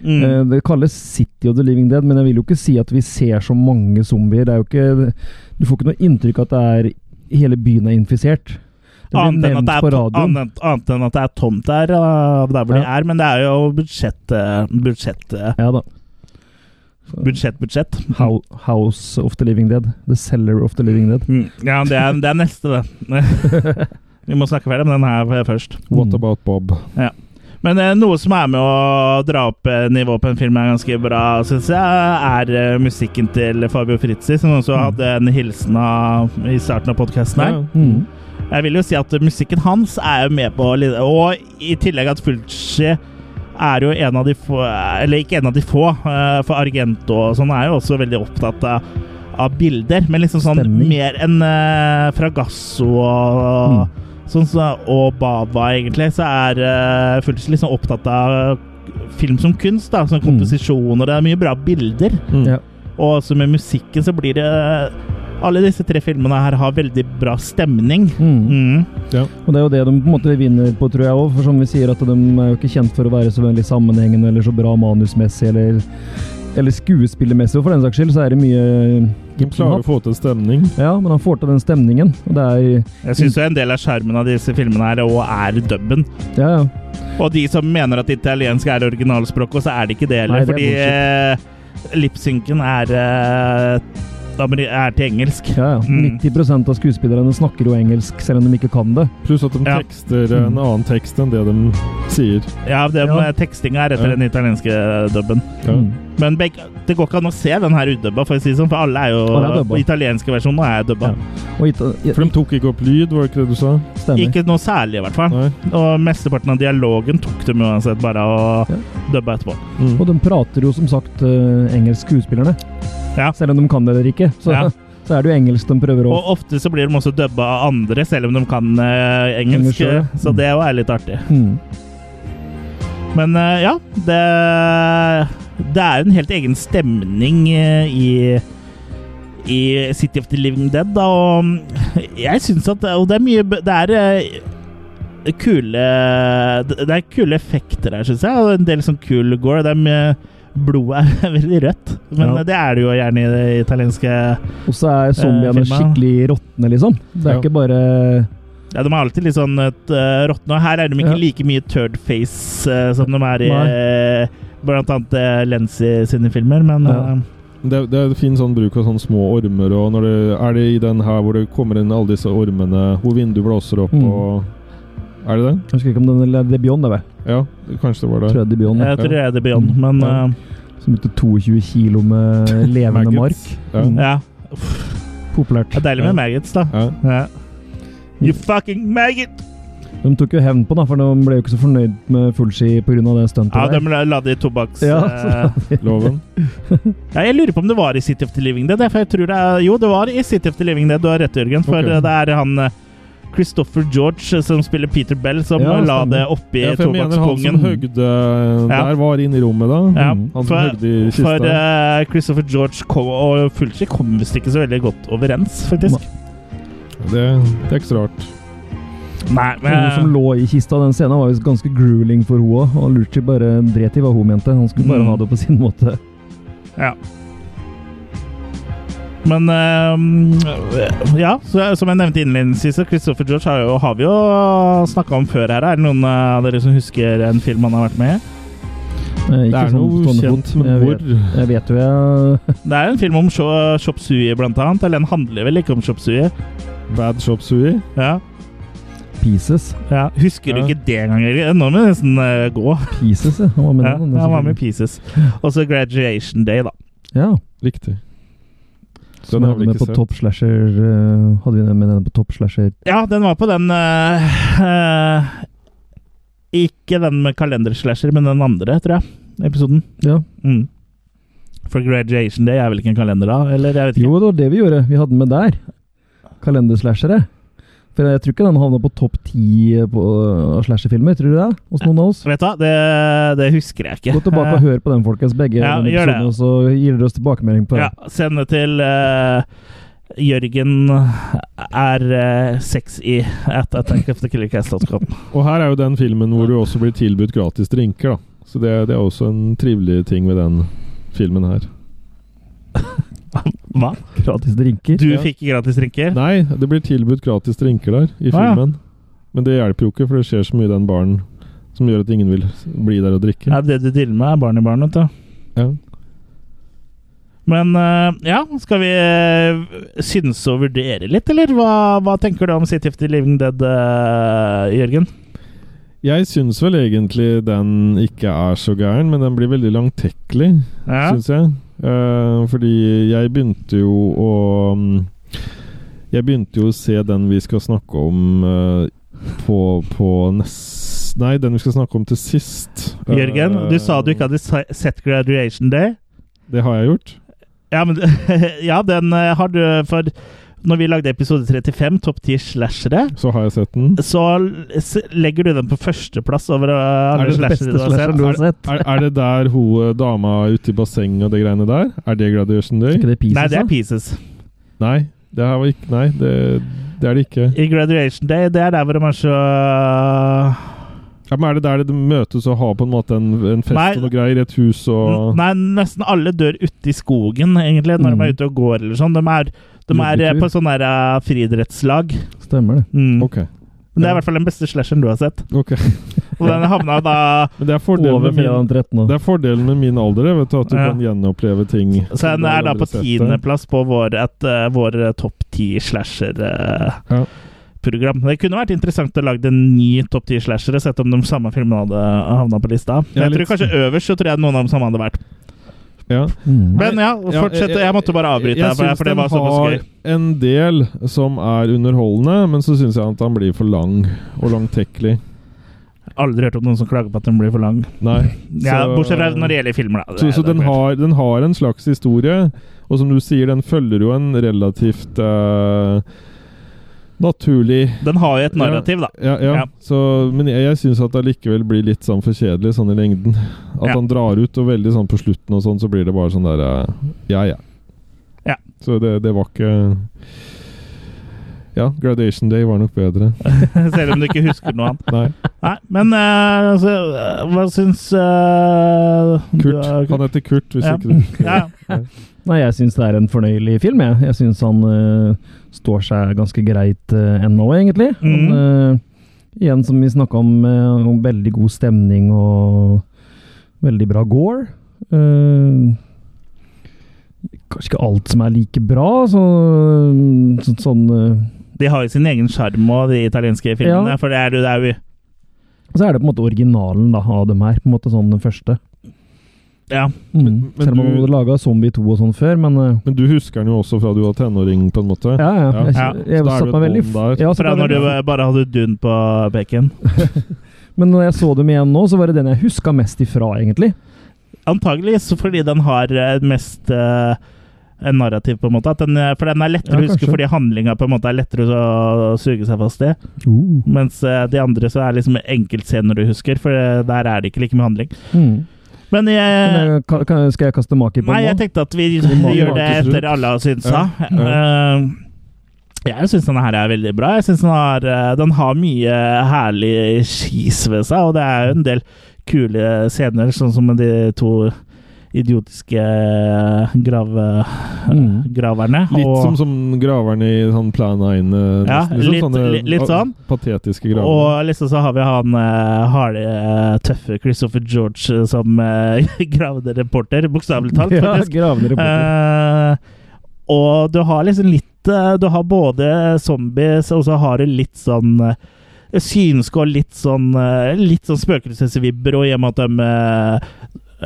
Mm. Eh, det kalles City of the Living Dead, men jeg vil jo ikke si at vi ser så mange zombier. Det er jo ikke, du får ikke noe inntrykk av at det er hele byen er infisert. Det blir Annet enn, at nevnt det er, på to- radioen. annet, annet enn at det er tomt der, uh, der hvor Ja. de er. Men det er jo budsjett, uh, budsjett, uh, Ja da. budsjett, budsjett. Hou- House of the Living Dead. The Cellar of the Living Dead. Mm. Ja, det er, det er neste, det. Vi må snakke ferdig om den her eh, først. What Mm. about Bob? Men eh, noe som er med å dra opp eh, nivået på en film er ganske bra, syns jeg, er eh, musikken til Fabio Fritzi, som også hadde en hilsen av, i starten av podkasten her. Ja. Mm. Jeg vil jo si at musikken hans er jo med på å lide- Og i tillegg at Fulci er jo en av de få Eller ikke en av de få, eh, for Argento og sånn er jo også veldig opptatt av, av bilder. Men liksom sånn Stemning. mer enn eh, Fragasso og sånn som- og Baba, egentlig, så er eh, Fulci liksom opptatt av film som kunst. da, Sånn komposisjon, og det er mye bra bilder. Mm. Ja. Og også med musikken så blir det eh, Alle disse tre filmene her har veldig bra stemning. Mm. Mm. Og det er jo det de på en måte vinner på, tror jeg òg. For som vi sier, at de er jo ikke kjent for å være så veldig sammenhengende eller så bra manusmessig eller, eller skuespillermessig. Og for den saks skyld så er det mye De klarer å få til stemning. Ja, men han får til den stemningen. Og det er Jeg syns en del av skjermen av disse filmene her òg er dubben. Ja, ja. Og de som mener at italiensk er originalspråket, og så er det ikke det heller. Nei, det er Fordi eh, lipsynken er eh, amer- er til engelsk. ja, ja. Mm. 90 av skuespillerne snakker jo engelsk, selv om de ikke kan det. Pluss at de Ja. Mm. tekster en annen tekst enn det de sier. Ja, det Ja. med tekstinga er etter Ja. den italienske eh, dubben. Ja. Mm. Men begge, det går ikke an å se den her udubba, for å si det sånn, for alle er Alle er jo dubba. på italienske versjonen er dubba. Ja. Og ita- ja, For de tok ikke opp lyd, var det ikke det du sa? stemmer. Ikke noe særlig, i hvert fall. Nei. Og mesteparten av dialogen tok dem uansett bare å Ja. dubbe etterpå. Mm. Og de prater jo som sagt eh, engelsk, skuespillerne. Ja. Selv om de kan det eller ikke. Så, Ja. så er det jo engelsk de prøver å Og ofte så blir de også dubba av andre, selv om de kan eh, engelsk. Engelsk, ja. Så det er jo er litt artig. mm. Men eh, ja, det Det er en helt egen stemning eh, i i City of the Living Dead, da, og jeg syns at Og det er mye b- Det er eh, kule Det det er kule effekter her, syns jeg, og en del sånn kul gore. Det er mye Blodet er veldig rødt, men Ja. det er det jo gjerne i det italienske Ja, Og så er zombiene Eh, filmen. skikkelig råtne, liksom. Det er Ja. ikke bare De er alltid litt sånn et, eh, råtne, og her er de ikke Ja. like mye third face eh, som de er i eh, blant annet eh, Lenzi sine filmer, men Ja. eh, Det, det er fin sånn bruk av sånne små ormer. Og når det, er det i den her hvor det kommer inn alle disse ormene, hvor vinduet blåser opp Mm. og Er det den? Jeg husker ikke om den eller Debion, det er vel. Ja, kanskje det var det. Tror jeg Debion, Jeg tror det er The Beyond, Mm. men Ja. eh, Som brukte 22 kilo med levende mark. Maggots. Ja. Mm. ja. Populært. Det er deilig med Ja. maggots, da. Ja. Ja. You fucking maggot! De tok jo hevn på den, da, for de ble jo ikke så fornøyd med fullski pga. det stuntet Ja, de der. la la det i tobakks... Ja, eh, Loven. ja, jeg lurer på om det var i City of the Living Dead. For jeg tror det er, jo, det var i City of the Living Dead, du har rett, Jørgen. For Ok. eh, det er han eh, Christopher George eh, som spiller Peter Bell, som Ja, eh, la stemmer. det oppi Ja, for jeg mener han som tobakkspungen. høgde eh, Ja. der, var inne i rommet da. Ja, Mm. Han som for, høgde i kista. for eh, Christopher George kom, og Fulci kom visst ikke så veldig godt overens, faktisk. det, det er ikke så rart. Nei, Hun eh, som lå i kista den scenen, var visst ganske grueling for henne òg. Og Luchi bare dret i hva hun mente. Han skulle bare Mm. ha det på sin måte. Men eh, Ja, så, som jeg nevnte innledningsvis, så Christopher George har, jo, har vi jo snakka om før her. Er det noen eh, av dere som husker en film han har vært med i? Eh, Det ikke er sånn noe stående kjent, fot. men Jeg hvor? vet- Jeg vet jo jeg Det er en film om Sho- Chop Sui, blant annet. Eller den handler vel ikke om Chop Sui? Bad Shop Sui. Ja, Pieces. ja. Husker du Ja. ikke det engang? Jørgen? Nå må vi nesten eh, gå. Pieces, ja. Han var med Ja, den, han var med i Pieces. Og så Graduation Day, da. Ja. Riktig. Den Som har hadde vi med ikke på sett. Top Slasher eh, Hadde vi den med den på Top Slasher? Ja, den var på den eh, eh, Ikke den med kalenderslasher, men den andre, tror jeg. Episoden. Ja. Mm. For graduation day er vel ikke en kalender, da? Eller jeg vet ikke. Jo, det var det vi gjorde. Vi hadde den med der. Kalenderslashere. For jeg tror ikke den havna på topp ti eh, på, eh, av slasherfilmer, tror du det? Hos noen av oss? Vet du hva, det, det husker jeg ikke. Gå tilbake og hør på den, folkens. Begge Ja, de gjør det. episodene, og så gir dere oss tilbakemelding på det. Ja, sende til eh, Jørgen er eh, sexy at attackofthekillercast.com. Og her er jo den filmen hvor du også blir tilbudt gratis drinker, da. Så det, det er også en trivelig ting ved den filmen her. Hva? Gratis drinker. Du Ja. fikk gratis drinker? Nei, det blir tilbudt gratis drinker der i Å, ja. filmen. Men det hjelper jo ikke, for det skjer så mye i den baren som gjør at ingen vil s- bli der og drikke. Ja, det du dealer med, er barn i barn, vet du. Ja. Men eh, ja, skal vi eh, synse og vurdere litt, eller? Hva, hva tenker du om City of the Living Dead, eh, Jørgen? Jeg syns vel egentlig den ikke er så gæren, men den blir veldig langtekkelig, Ja. syns jeg. Eh, fordi jeg begynte jo å mm, Jeg begynte jo å se den vi skal snakke om eh, på, på nest... Nei, den vi skal snakke om til sist. Eh, Jørgen, du sa du ikke hadde se- sett Graduation Day. Det har jeg gjort. Ja, men, ja den eh, har du For når vi lagde episode 35, Topp 10 slashere, Så har jeg sett den. så l- s- legger du den på førsteplass over eh, alle det den slashere du har sett. slasheren du har sett. Er, er det der hun eh, dama ute i bassenget og det greiene der? Er det Graduation Er Day? ikke det Pieces, Nei, det er da? Pieces. Nei, det her var ikke Nei, det, det er det ikke. I Graduation Day, det er der hvor de er så Ja, men Er det der de møtes og har på en måte en, en fest Nei. og noe greier i et hus og Nei, nesten alle dør ute i skogen, egentlig, når Mm. de er ute og går eller sånn. De er, de er eh, Joggetur. på sånn der eh, friidrettslag. Stemmer det. Mm. Ok. Men det er i hvert fall den beste slasheren du har sett. ok. Og den havna da Men det er fordelen Over med fredag min, den 13. det nå. er fordelen med min alder, vet du, at du Ja. kan gjenoppleve ting. Så den er da på Allerede sett det. tiendeplass på vår, et, eh, vår eh, topp ti Ja. slasher-program. Det kunne vært interessant å lage en ny topp ti slashere, sett om de samme filmene hadde havna på lista. Ja, Jeg litt- tror kanskje øverst så tror jeg noen av dem samme hadde vært. Ja. Mm. Men ja, Ja, fortsett. Jeg måtte bare avbryte jeg deg, for- syns for det var den såpass har gøy. En del som er underholdende, men så syns jeg at han blir for lang og langtekkelig. Aldri hørt om noen som klager på at den blir for lang. Nei. Ja, Så- Bortsett fra når det gjelder filmer, da. Så, Det- så det er den, klart. har, den har en slags historie, og som du sier, den følger jo en relativt eh, naturlig den har jo et narrativ, da. ja, ja. Ja. Så, Men jeg, jeg syns at det allikevel blir litt sånn for kjedelig sånn i lengden. At Ja. han drar ut, og veldig sånn på slutten og sånn, så blir det bare sånn der eh, Ja, ja. Ja. Så det, det var ikke Ja, Graduation Day var nok bedre. Selv om du ikke husker noe annet. Nei. Nei, men eh, altså, eh, hva syns eh, du, Kurt. eh, Han heter Kurt, hvis Ja. ikke du Ja, ja. Nei, jeg syns det er en fornøyelig film, jeg. Jeg syns han eh, står seg ganske greit eh, ennå, egentlig. Han, Mhm. eh, igjen, som vi snakka om, eh, om veldig god stemning og veldig bra gore. Eh, kanskje ikke alt som er like bra, så, så, sånn eh, De har jo sin egen sjarm og de italienske filmene, Ja. for det er jo det er jo Så er det på en måte originalen da, av dem her, på en måte sånn den første. Ja. Mm. Men- men Selv om han du- hadde laga Zombie 2 og sånn før, men eh, Men du husker han jo også fra du var tenåring, på en måte? ja, ja. Jeg, Ja. Så jeg, da er satt du meg veldig et bånd der. ja, satt Fra meg når du veldig- eh, bare hadde dun på bacon. Men når jeg så dem igjen nå, så var det den jeg huska mest ifra, egentlig. Antagelig så fordi den har eh, mest eh, en narrativ, på en måte. At den, eh, for den er lettere Ja, å huske kanskje. fordi handlinga på en måte er lettere å suge seg fast i. Uh. Mens eh, de andre så er liksom enkeltscener du husker, for eh, der er det ikke like mye handling. Mm. Men Men jeg, jeg, kan, kan, skal jeg kaste maki på nei, jeg den nå? tenkte at vi må gjør det snakkes rundt. etter alle har syntes Ja, det. Jeg syns denne her er veldig bra. Jeg synes den, har, eh, den har mye herlig skis ved seg, og det er jo en del kule scener, sånn som de to idiotiske eh, grave, Mm. graverne. Litt og, som, som graverne i sånn Plan 9. eh, Ja, nesten, liksom, litt- li- litt ah, sånn. Patetiske graverne. Og liksom så har vi han uh, harde, eh, tøffe Christopher George eh, som eh, gravde reporter, bokstavelig talt, Ja, faktisk. gravende reporter. Eh, og du har liksom litt eh, Du har både zombies, og så har du litt sånn uh, synske og litt sånn eh, Litt sånn spøkelsesvibber, og i og med at de eh,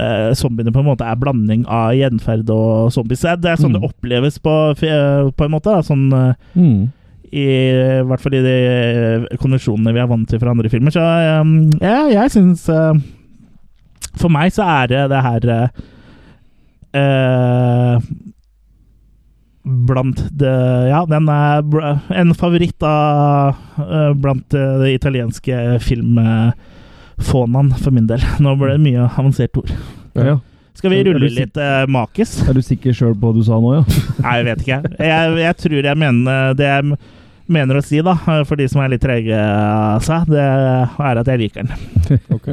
eh, zombiene på en måte er blanding av gjenferd og zombiesæd. Det er sånn Mm. det oppleves på, f- eh, på en måte. Da. Sånn, eh, Mm. i, I hvert fall i de eh, konvensjonene vi er vant til fra andre filmer. Så eh, ja, jeg syns eh, For meg så er det det her eh, eh, Blant det Ja, den er br- en favoritt av eh, Blant eh, det italienske filmfaunaen, for min del. Nå ble det mye avanserte ord. Ja. ja. Skal vi Er du rulle sikker? litt eh, makis? Er du sikker sjøl på hva du sa nå, ja? Nei, jeg vet ikke. Jeg, jeg tror jeg mener det jeg mener å si, da, for de som er litt trege av seg, det er at jeg liker den. Ok.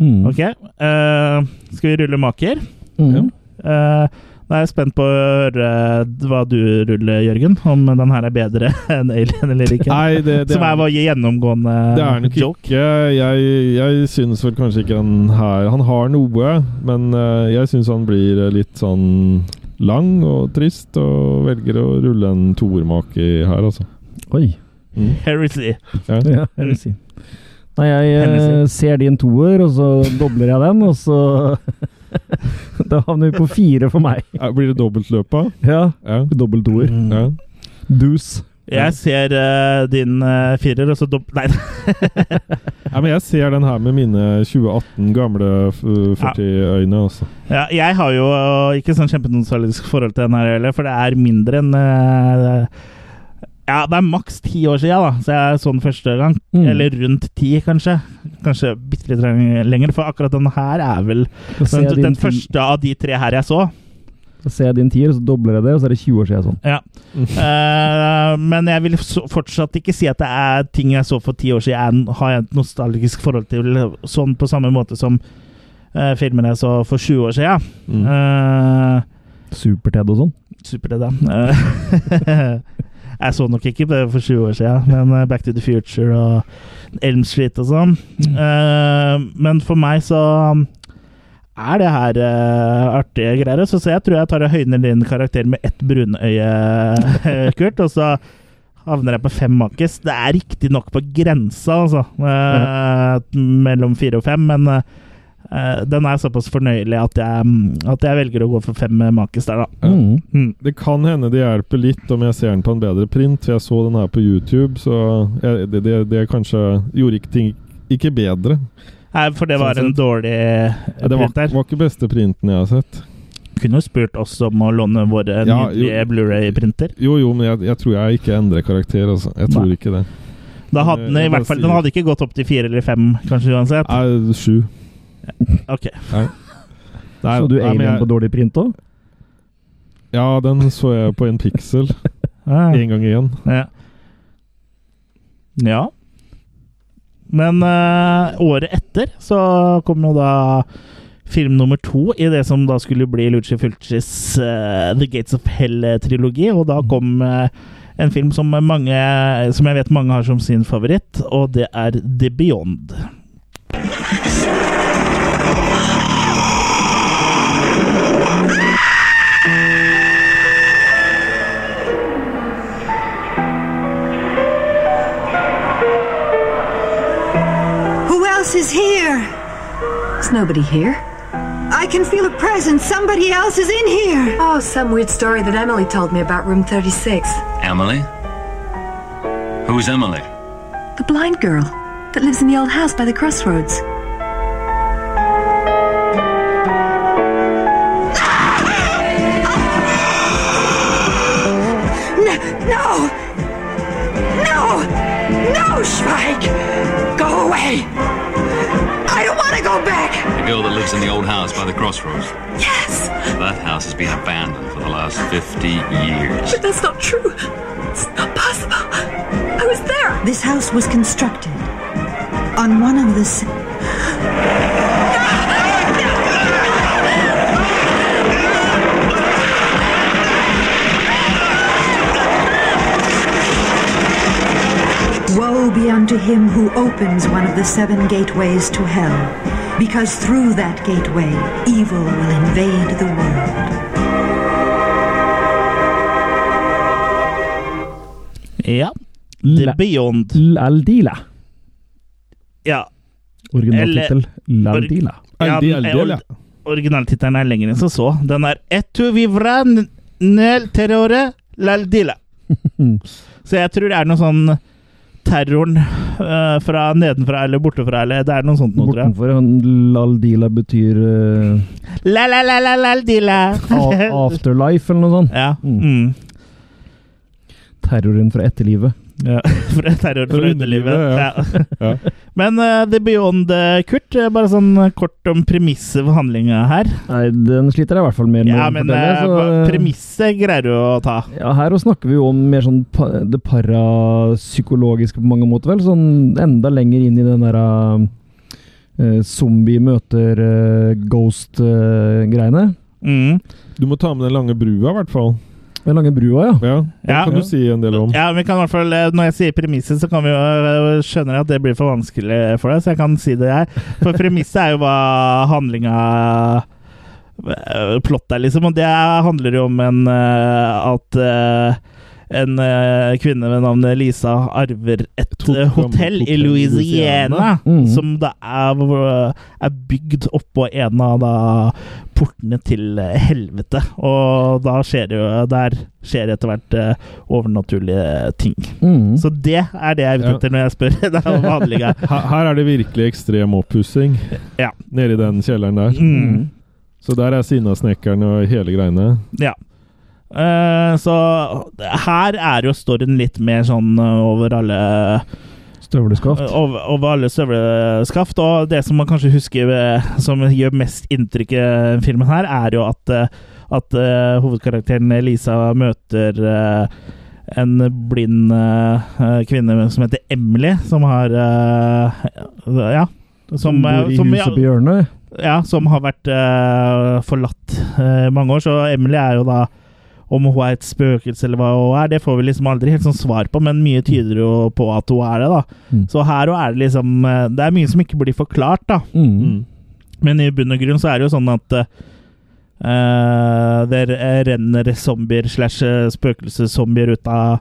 Mm. Ok, eh, skal vi rulle maker? Mm. Eh, da er jeg spent på å høre hva du ruller, Jørgen. Om den her er bedre enn Alien eller ikke. Nei, det, det som er er, vår gjennomgående det er nok joke. ikke Jeg, jeg syns vel kanskje ikke den her Han har noe, men eh, jeg syns han blir eh, litt sånn lang og trist, og velger å rulle en toermake her, altså. Oi. Mm. Heresy. Ja. Ja, jeg vil si. Mm. Nei, jeg eh, Hennesy. ser din toer, og så dobler jeg den, og så Da havner vi på fire for meg. Eh, Blir det dobbeltløpa? Ja. Ja. Mm. Dobbel toer. ja. Dus. Jeg ser eh, din eh, firer, og så dob... Nei, Ja, men jeg ser den her med mine 2018 gamle f- 40-øyne, altså. Ja, jeg har jo øh, ikke sånn kjempenostalgisk forhold til den her heller, for det er mindre enn øh, Ja, det er maks ti år siden, da, så jeg så den første gang. Mm. Eller rundt ti, kanskje. Kanskje bitte litt leng- lenger, for akkurat den her er vel Da ser den, jeg din den ti- første av de tre her jeg så. Da ser jeg din tier, og så dobler jeg det, og så er det 20 år siden sånn. Ja. Eh, men jeg vil så- fortsatt ikke si at det er ting jeg så for ti år siden jeg har et nostalgisk forhold til, sånn på samme måte som uh, filmene jeg så for 20 år siden. Mm. Eh, Super-Ted og sånn. Super-Ted, ja. Eh, jeg så nok ikke på det for 20 år siden, men eh, Back to the Future og Elm Street og sånn. Eh, men for meg så um, er det her eh, artige greier. Så, så jeg tror jeg tar og høyner din karakter med ett brunøye, Kurt. Og så havner jeg på fem makis. Det er riktignok på grensa, altså. eh, Mellom fire og fem, men eh, eh, den er såpass fornøyelig at jeg, at jeg velger å gå for fem makis der, da. Ja. Mm. Mm. Det kan hende det hjelper litt om jeg ser den på en bedre print, for jeg så den her på YouTube, så jeg, det, det, det kanskje gjorde ikke ting ikke bedre. Nei, for det var en Sånn sett. dårlig eh, Ja, Det var, print der. var ikke beste printen jeg har sett. Kunne jo spurt oss om å låne våre Ja, nydelige jo. Blu-ray-printer. Jo, jo, men jeg, jeg tror jeg ikke endrer karakter, altså. Jeg tror Nei. ikke det. Da hadde den i eh, Jeg bare hvert fall sier- Den hadde ikke gått opp til fire eller fem, kanskje uansett. Nei, sju. Ok. Nei, så du nei, men Alien jeg- på dårlig print òg? Ja, den så jeg på en pixel. Ah, En gang igjen. Ja. ja. Men eh, året etter så kom jo da film nummer to i det som da skulle bli Luci Fulcis eh, The Gates of Hell-trilogi, og da kom eh, en film som, mange, som jeg vet mange har som sin favoritt, og det er The Beyond. Who else is here? There's nobody here. I can feel a presence. Somebody else is in here. Oh, some weird story that Emily told me about room 36. Emily? Who's Emily? The blind girl that lives in the old house by the crossroads. No, no, no, no, Spike. Go away. I don't want to go back. The girl that lives in the old house by the crossroads. Yes, That house has been abandoned for the last 50 years. But that's not true. It's not possible. I was there. this house was constructed on one of the. s- Woe be unto him who opens one of the seven gateways to hell, because through that gateway evil will invade the world. Ja. The Beyond. L'Aldila. Ja. Originaltittel. L'Aldila. ja Aldi, aldi, eh, eller? ori- originaltittelen er lenger enn som så. Den er Etu vivra n- nel terrore laldila. Så jeg tror det er noe sånn terroren eh, fra nedenfra eller bortefra eller Det er noe sånt noe, tror jeg. Bortenfor han Laldila betyr eh, La-la-la-la-laldila. a- afterlife eller noe sånt. ja. Mm. Terroren fra etterlivet. ja. Fra terror Fra fra underlivet. underlivet, Ja. ja. Ja. Men eh, The Beyond, eh, Kurt, eh, bare sånn eh, kort om premisset for handlinga her. Nei, den sliter jeg i hvert fall mer med Ja, å men fortelle, eh, så, eh, premisset greier du å ta. Ja, her også snakker vi jo om mer sånn pa det parapsykologiske på mange måter, vel? Sånn enda lenger inn i den der eh, zombie møter eh, ghost-greiene. Eh, Mm. Du må ta med den lange brua, i hvert fall. Den lange brua, ja. Ja, Den Ja. kan du si en del om. Ja, vi kan i hvert fall, eh, Når jeg sier premisset, så kan vi jo eh, skjønner jeg at det blir for vanskelig for deg, så jeg kan si det her. For premisset er jo hva handlinga eh, Plott er, liksom. Og det handler jo om en eh, at eh, en eh, kvinne ved navn Lisa arver et hot- eh, hotell i hotell i Louisiana, Louisiana. Mhm. som da er, eh, er bygd oppå en av da portene til eh, helvete. Og da skjer det jo Der skjer det etter hvert eh, overnaturlige ting. Mm. Så det er det jeg er ute Ja. etter når jeg spør deg om handlinga. Her, her er det virkelig ekstrem oppussing. Ja. Nede i den kjelleren der. Mm. Så der er Sinnasnekkeren og hele greiene. Ja. Eh, så her er jo storyen litt mer sånn eh, over alle Støvleskaft. eh, over, over alle støvleskaft. Og det som man kanskje husker eh, som gjør mest inntrykk i eh, filmen her, er jo at, eh, at eh, hovedkarakteren Lisa møter eh, en blind eh, eh, kvinne som heter Emily, som har eh, Ja. Som, eh, bor i som- huset på hjørnet. Ja, som har vært eh, forlatt eh, i mange år. Så Emily er jo da Om hun er et spøkelse eller hva hun er, det får vi liksom aldri helt sånn svar på, men mye tyder jo på at hun er det, da. Mm. Så her òg er det liksom eh, Det er mye som ikke blir forklart, da. Mm. Men i bunn og grunn så er det jo sånn at eh, det renner zombier slash eh, spøkelseszombier ut av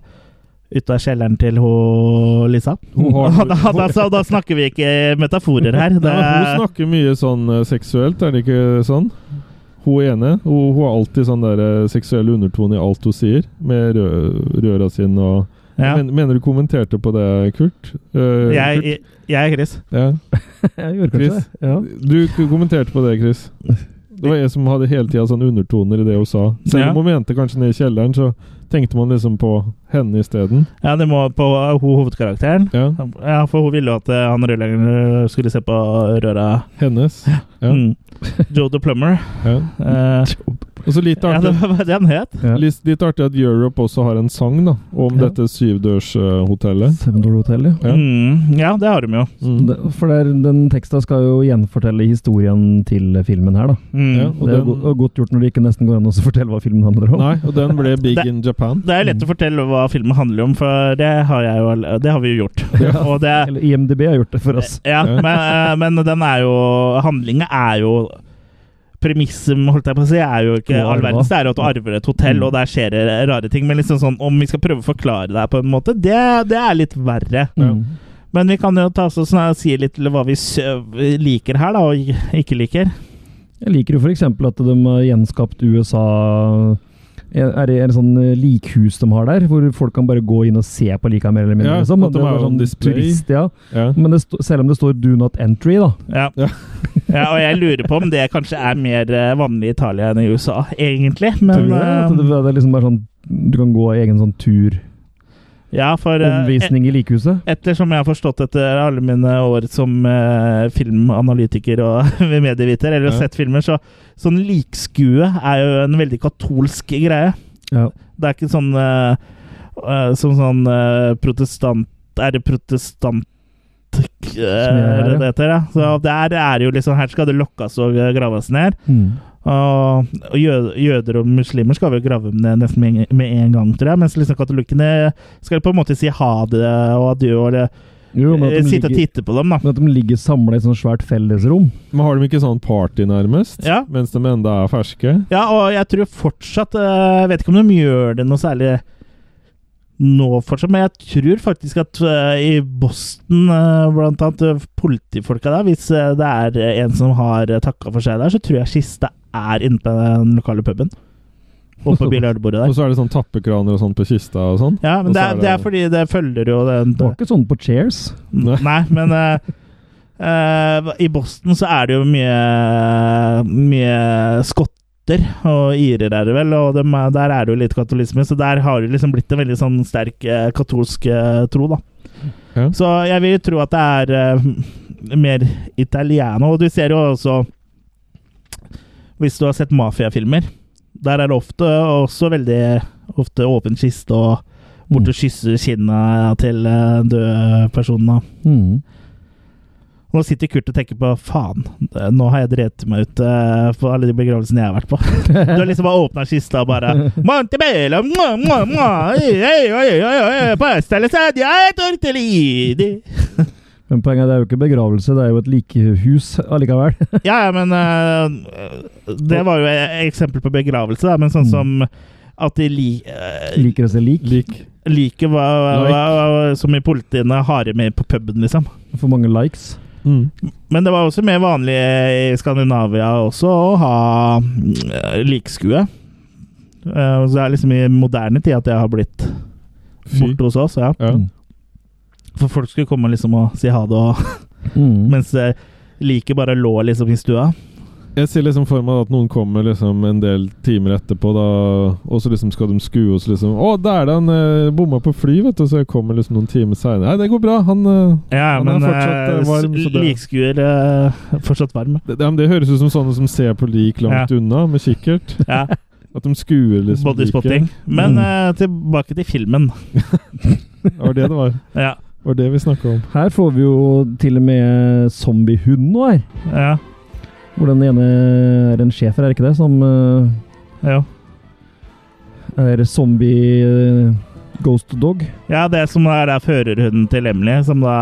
ut av kjelleren til ho, Lisa. Hun har- da, da, så, da snakker vi ikke metaforer her. Det, Ja, hun snakker mye sånn eh, seksuelt, er det ikke sånn? Hun ene. Hun, hun har alltid sånn der eh, seksuell undertone i alt hun sier, med rø røra sine og ja. men, Mener du kommenterte på det, Kurt? Eh, Jeg, Kurt? jeg, jeg er Chris. Ja. Jeg gjorde kanskje Chris? det. Ja. Du k- kommenterte på det, Chris. Det var jeg som hadde hele tida sånn undertoner i det hun sa. Selv Ja. om hun mente kanskje ned i kjelleren, så tenkte man liksom på henne isteden. Ja, det må på ho- hovedkarakteren. Ja. Ja, for hun ville jo at eh, han rørleggeren eh, skulle se på røra. Hennes. Ja. Mm. Joe the Plumber. Ja. Eh, Og så litt ja, artig det var hva det han het. Ja. Litt, litt artig at Europe også har en sang da, om Ja. dette syvdørshotellet. Sevendor-hotellet. Ja. Mm, ja, det har de jo. Mm. For der, den teksta skal jo gjenfortelle historien til filmen her, da. Mm. Ja, og det er den, jo go- godt gjort når det ikke nesten går an å fortelle hva filmen handler om. nei, og den ble big Det- in Japan. Det er lett å fortelle hva filmen handler om, for det har, jeg jo, all- det har vi jo gjort. Ja. Og det, Eller IMDb har gjort det for oss. ja, men, eh, men den er jo Handlinga er jo Premisset, holdt jeg på å si, er jo ikke Du har all arva. verdens. Det er jo at du arver et hotell, Mm. og der skjer det rare ting. Men liksom sånn, om vi skal prøve å forklare det her på en måte, det, det er litt verre. Mm. Men vi kan jo ta oss og snak- si litt til hva vi s- liker her, da, og ikke liker. Jeg liker jo f.eks. at de har gjenskapt USA Er det en sånn eh, likhus de har der, hvor folk kan bare gå inn og se på lika mer eller mindre? Ja, liksom. at de Det er har bare on display. turist, ja. Ja. Men det sto, selv om det står 'do not entry', da. Ja. Ja. ja, og jeg lurer på om det kanskje er mer eh, vanlig i Italia enn i USA, egentlig. Tror Men du det? At det, eh, det er liksom bare sånn Du kan gå i egen sånn tur. ja, for eh, Omvisning i likhuset. et- ettersom jeg har forstått etter alle mine år som eh, filmanalytiker og medieviter, eller Ja. sett filmer, så sånn likskue er jo en veldig katolsk greie. Ja. Det er ikke sånn eh, eh, som sånn eh, protestant Er det protestant eh, er her, ja. det heter, ja. Så der er jo liksom Her skal det lokkes og eh, graves ned. Mm. Og og jø- jøder og muslimer skal vel grave dem ned nesten med en- med en gang, tror jeg. Mens liksom katolikkene skal på en måte si ha det og adjø og eh, Jo, men at de sitte og ligger, titte på dem, da. men at de ligger samla i et sånt svært fellesrom. Men har de ikke sånn party, nærmest? Ja. Mens de enda er ferske? Ja, og jeg tror fortsatt eh, Jeg vet ikke om de gjør det noe særlig nå fortsatt, men jeg tror faktisk at eh, i Boston, eh, blant annet eh, politifolka der, hvis eh, det er eh, en som har uh, takka for seg der, så tror jeg kista er inne på den lokale puben. Oppe på biljardbordet Og der. så er det sånn tappekraner og sånn på kista og sånn. Ja, men og så det er er, det- det er fordi det følger jo den Det var ikke sånn på Cheers. Nei. Nei, men eh, eh, i Boston så er det jo mye, mye skotter og irer, er det vel, og dem, er- der er det jo litt katolisme, så der har det liksom blitt en veldig sånn sterk eh, katolsk eh, tro, da. Ja. Så jeg vil tro at det er eh, mer italiano, og du ser jo også Hvis du har sett mafiafilmer, der er det ofte også veldig ofte åpen kiste og Mm. bort og kysse kinnet til eh, døde personer. Mm. Nå sitter Kurt og tenker på faen, det- nå har jeg drevet meg ut eh, på alle de begravelsene jeg har vært på. Du har liksom bare åpna kista og bare Montebello, mua, mua, mua, oi, oi, oi, oi, oi, pasta lasagna, tortellini. Men poenget er det er jo ikke begravelse, det er jo et likehus allikevel. Ja, ja, men eh, Det var jo et eksempel på begravelse, da, men sånn som at de li, eh, Liker å se lik. Lik. liker hva, hva, hva, hva som i politiene har med på puben, liksom. For mange likes. Mm. Men det var også mer vanlig i Skandinavia også å ha eh, likskue. Eh, og Så det er liksom i moderne tid at det har blitt Fy. borte hos oss. Ja. Ja. Mm. For folk skulle komme liksom og si ha det, og, Mm. mens eh, liket bare lå liksom i stua. Jeg ser liksom for meg at noen kommer liksom en del timer etterpå, da, og så liksom skal de skue oss liksom 'Å, der er det han eh, bomma på fly', vet du. Så jeg kommer liksom noen timer seinere. 'Nei, det går bra. Han eh, Ja, Han er men fortsatt, eh, eh, varm, s- så det- likskuer eh, fortsatt varm. det, det, men det høres ut som sånne som ser på lik langt unna med kikkert. Ja, At de skuer liksom Bodyspotting. liket. Men eh, tilbake til filmen. Det var det det var. Ja, Det var det vi snakka om. Her får vi jo til og med zombiehund nå her. ja, Hvor den ene er en schæfer, er det ikke det? Som eh, jo. er zombie eh, ghost dog. Ja, det som er da førerhunden til Emily, som da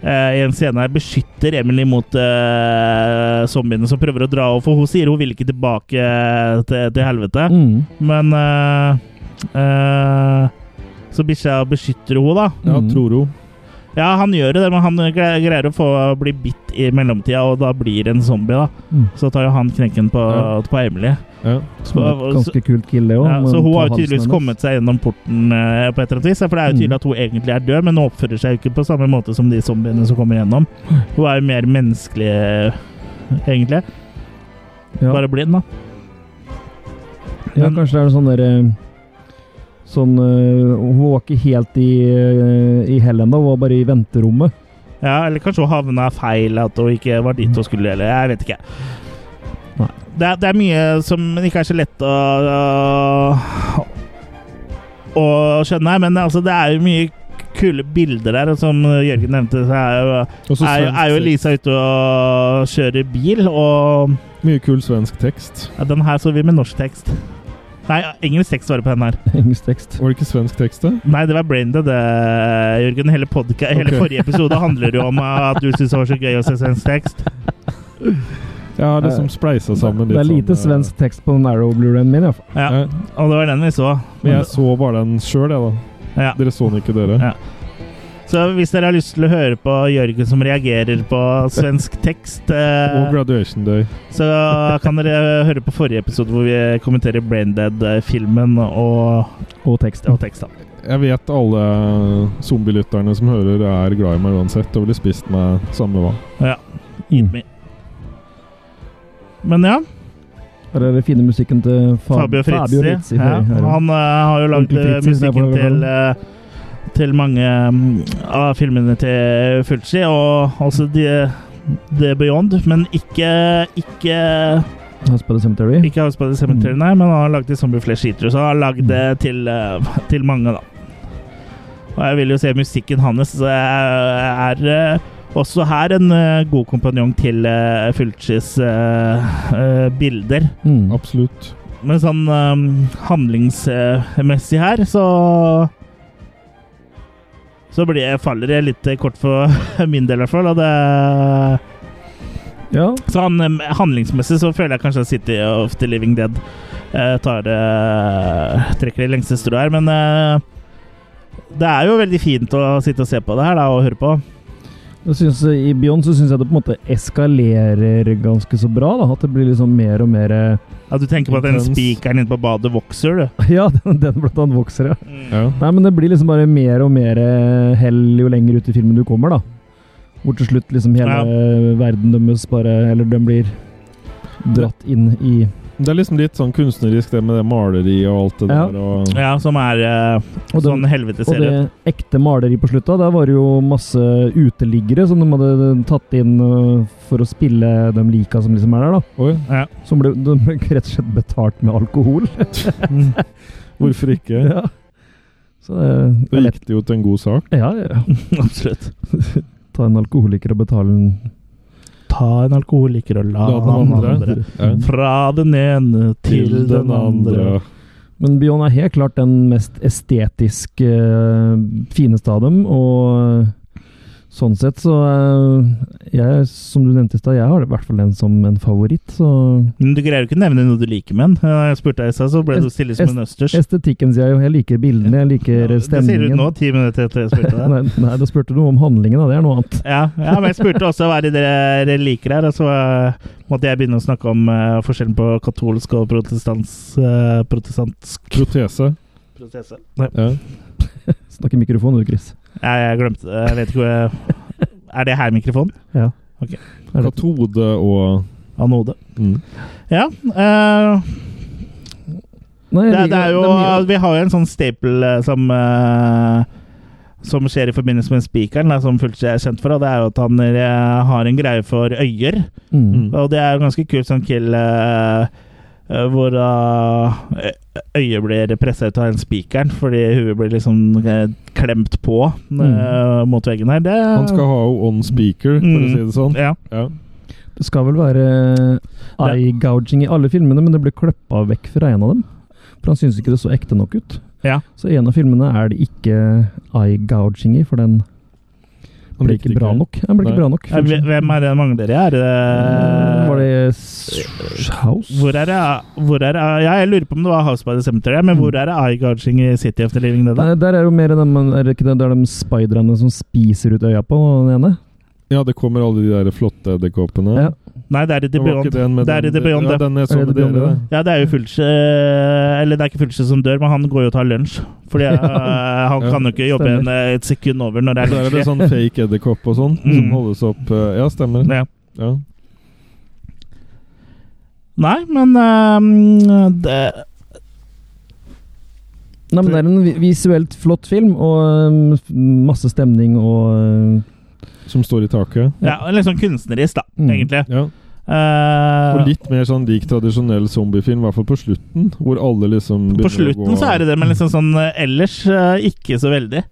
eh, i en scene her beskytter Emily mot eh, zombiene som prøver å dra over. For hun sier hun vil ikke tilbake eh, til, til helvete. Mm. Men eh, eh, Så bikkja beskytter hun, da. Ja, Mm. tror hun. Ja, han gjør jo det, men han gre- greier å få bli bitt i mellomtida, og da blir det en zombie, da. Mm. Så tar jo han knekken på, Ja. på Emily. Ja. Som er et Så- ganske kult kill, det òg. altså- Ja, så hun har jo tydeligvis kommet seg gjennom porten eh, på et eller annet vis. ja, For det er jo tydelig at hun egentlig er død, men hun oppfører seg jo ikke på samme måte som de zombiene som kommer gjennom. Hun er jo mer menneskelig, eh, egentlig. Ja. Bare blind, da. Ja, kanskje det er noe sånn derre Sånn eh, Hun var ikke helt i, eh, i hell ennå, hun var bare i venterommet. Ja, eller kanskje hun havna feil, at hun ikke var dit hun skulle, eller jeg vet ikke. Nei. Det er, det er mye som ikke er så lett å, å, å skjønne, men altså, det er jo mye kule bilder der, og som Jørgen nevnte, så er jo Og så er, er jo svensk Lisa ute og kjører bil, og tekst. Mye kul svensk tekst. ja, den her så vi med norsk tekst. Nei, engelsk tekst var det på den her. Engelsk tekst. Var det ikke svensk tekst, da? Nei, det var Braindead, det, Jørgen. Hele, podca hele Ok. forrige episode handler jo om at du syntes det var så gøy å se svensk tekst. Jeg har liksom spleisa sammen litt det er lite sånn, eh, svensk tekst på den Arrow Blu-rayen min, iallfall. Ja, Ja. og det var den vi så. Men jeg så bare den sjøl, jeg, da. Ja. Dere så den ikke, dere. Ja. Så hvis dere har lyst til å høre på Jørgen som reagerer på svensk tekst, Og eh, Graduation Day. så kan dere høre på forrige episode hvor vi kommenterer Braindead-filmen og, Og tekst. og tekst. da. Jeg vet alle zombielytterne som hører, er glad i meg uansett og ville spist meg samme hva. Mm. Men ja. Her er den fine musikken til Fa Fabio Frizzi. Frizzi, ja. hører jeg. Han eh, har jo lagd Onkel eh, Fritzi, som jeg musikken pleier å kalle til, eh, til mange mm, av filmene til Fulci, og også The, The Beyond. Men ikke, ikke, House by the Cemetery. ikke House by the Cemetery, nei, men han har lagd til Zombie Flesh Eater, så han har lagd det til, eh, til mange, da. Og jeg vil jo se musikken hans. så jeg er eh, også her en eh, god kompanjong til uh, Fulcis eh, eh, bilder. Mm. Absolutt. Men sånn um, handlingsmessig her, så Så blir jeg, faller jeg litt kort for min del, i hvert fall. Og det, Ja. så han, um, handlingsmessig så føler jeg kanskje at City of the Living Dead eh, tar, eh, trekker det lengste strået her, men eh, Det er jo veldig fint å sitte og se på det her da, og høre på. Jeg synes, eh, I Beyond så syns jeg det på en måte eskalerer ganske så bra. da, At det blir liksom mer og mer eh, Ja, du tenker på at den Intenst. spikeren inne på badet vokser, du. Ja, den, den blant annet vokser, ja. Ja. Nei, men det blir liksom bare mer og mer eh, hell jo lenger ut i filmen du kommer, da. Hvor til slutt liksom hele Ja. eh, verden dømmes bare Eller den blir dratt inn i Det er liksom litt sånn kunstnerisk, det med det maleriet og alt det Ja. der. Og, Ja, som er eh, Og den- sånn helvete Og ser ut. det ekte maleri på slutta, der var det jo masse uteliggere som de hadde tatt inn øh, for å spille de lika som liksom er der, da. oi, Som ble, de ble rett og slett betalt med alkohol. hvorfor ikke? Mm. Ja. Så det Da er lett. gikk det jo til en god sak. Ja, ja, ja. Absolutt. Ta en alkoholiker og betale en Ta en alkoholiker og la Da den andre. Ja. Fra den ene til den andre. Men Beyond er helt klart den mest estetisk øh, fineste av dem, og øh, sånn sett så øh, jeg, Som du nevnte i stad, jeg har i hvert fall den som en favoritt, så Men du greier jo ikke å nevne noe du liker med den. Eh, Jeg spurte deg i stad, så ble du stille som en østers. Estetikken sier jeg jo. Jeg liker bildene, jeg liker Det sier du stemningen. nå, ti minutter etter jeg spurte deg. nei, nei, da spurte du om handlingen, da. Det er noe annet. Ja, ja, men jeg spurte også hva er det dere dere liker her, og så eh, måtte jeg begynne å snakke om eh, forskjellen på katolsk og protestans, eh, protestantsk Protese. protese. Nei, Ja. Snakke i mikrofonen du, Chris. jeg, jeg glemte det. Jeg vet ikke hvor jeg- Er det her mikrofon? Katode og Anode. mm. Ja. eh, Nei, jeg det, liker- det er jo mye- Vi har jo en sånn staple eh, som eh, som skjer i forbindelse med spikeren, da, som Fulci er kjent for. Og det er jo at han eh, har en greie for øyer. mm. Og det er jo ganske kult sånn kill eh, eh, hvor eh, øyet blir pressa ut av den spikeren fordi huet blir liksom eh, klemt på eh, Mm. mot veggen her. Det, Han skal ha jo on speaker, for å Mm. si det sånn. ja. Ja. Det skal vel være eye gouging i alle filmene, men det ble kløppa vekk fra en av dem. For han syns ikke det så ekte nok ut. Ja. Så i en av filmene er det ikke eye gouging i, for den Han ble likte ikke bra nok. Den ble Nei. ikke bra nok. Eh, hve- Hvem er det den mangler i? Er det Mm, Var det S- House? eh, Hvor er det, hvor er det Ja, jeg lurer på om det var House by the Cemetery, Mm. men hvor er det eye gouging i City of the Living Dead? da? Nei, der er jo mer de, er det ikke det, det er de speiderne som spiser ut øya på den ene. Ja, det kommer alle de der flotte edderkoppene. Ja. Nei, det er i The Det var ikke Beyond. den med Det er i den- The Beyond, Ja, det. den er Er sånn det med The Beyond, dere, det? det. Ja, det er jo Fulci Eller det er ikke Fulci som dør, men han går jo og tar lunsj. Fordi eh, han Ja, kan jo ikke jobbe en, eh, et sekund over når det er Der er det lunsj. sånn fake edderkopp og sånn, Mm. som holdes opp eh, Ja, stemmer. Ja. Ja. Nei, men ehm, det, Nei, men Det er en vi- visuelt flott film, og um, masse stemning og um, Som står i taket. Ja, litt sånn kunstnerisk, da, Mm. egentlig. Ja. Eh, Og litt mer sånn lik tradisjonell zombiefilm, i hvert fall på slutten, hvor alle liksom på slutten så er det det, men liksom sånn eh, ellers eh, ikke så veldig.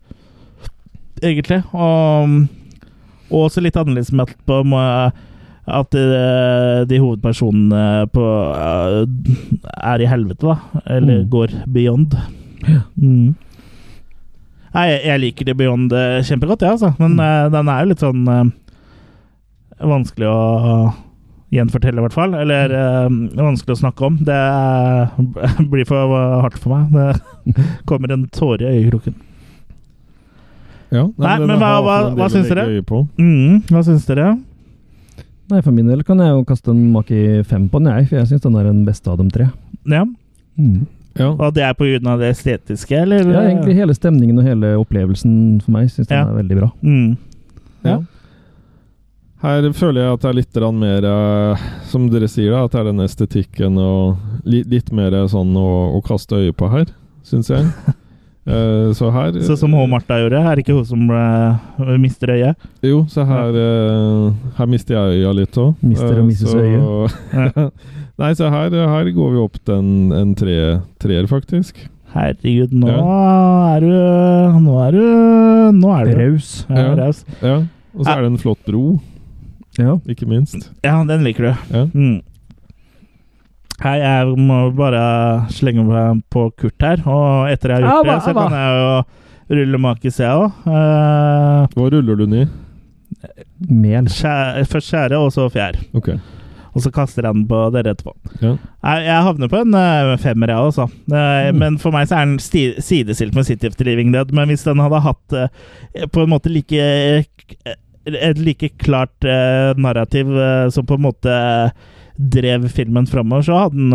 Egentlig. Og, og også litt annerledes med at, på, må- at eh, de hovedpersonene på eh, er i helvete, da. Eller Mm. går beyond. Mm. Nei, jeg, jeg liker det beyond eh, kjempegodt, jeg, altså. Mm. Men eh, den er jo litt sånn eh, vanskelig å gjenfortelle, i hvert fall. Eller eh, Mm. vanskelig å snakke om. Det er, blir for eh, hardt for meg. Det kommer en tåre i øyekroken. ja, Nei, men hva- hva- hva syns dere? dere? Mm, hva syns dere? Nei, For min del kan jeg jo kaste en Maki 5 på den, jeg. For jeg syns den er den beste av de tre. Ja, Mm. Ja. Og det er på grunn av det estetiske, eller? Ja, egentlig Hele stemningen og hele opplevelsen for meg syns den Ja. er veldig bra. Mm. Ja. Her føler jeg at det er litt grann mer eh, Som dere sier, da, at det er den estetikken og li, litt mer sånn å, å kaste øye på her, syns jeg. Eh, så her Så som hun Martha gjorde. Er det ikke hun som ble, mister øyet? Jo, så her, eh, her mister jeg øya litt òg. Mister og misses øyet. Nei, så her, her går vi opp til en, en tre, treer, faktisk. Herregud, nå er du Nå er du Nå er du Raus. Ja, Ja. raus. Ja. Og så er det en flott bro, Ja. ikke minst. ja, den liker du. Ja. Mm. Hei, jeg må bare slenge meg på Kurt her, og etter jeg har gjort Abba, det, så abba. kan jeg jo rulle makis, jeg òg. Eh, Hva ruller du den i? Mel. Først skjære, og så fjær. Ok. Og så kaster jeg den på dere etterpå. Ja. Jeg, jeg havner på en eh, femmer, jeg også. Eh, Men for meg så er den sti sidestilt med City of the Living Dead. Men hvis den hadde hatt eh, på en måte like eh, et like klart eh, narrativ eh, som på en måte drev filmen framover, så hadde den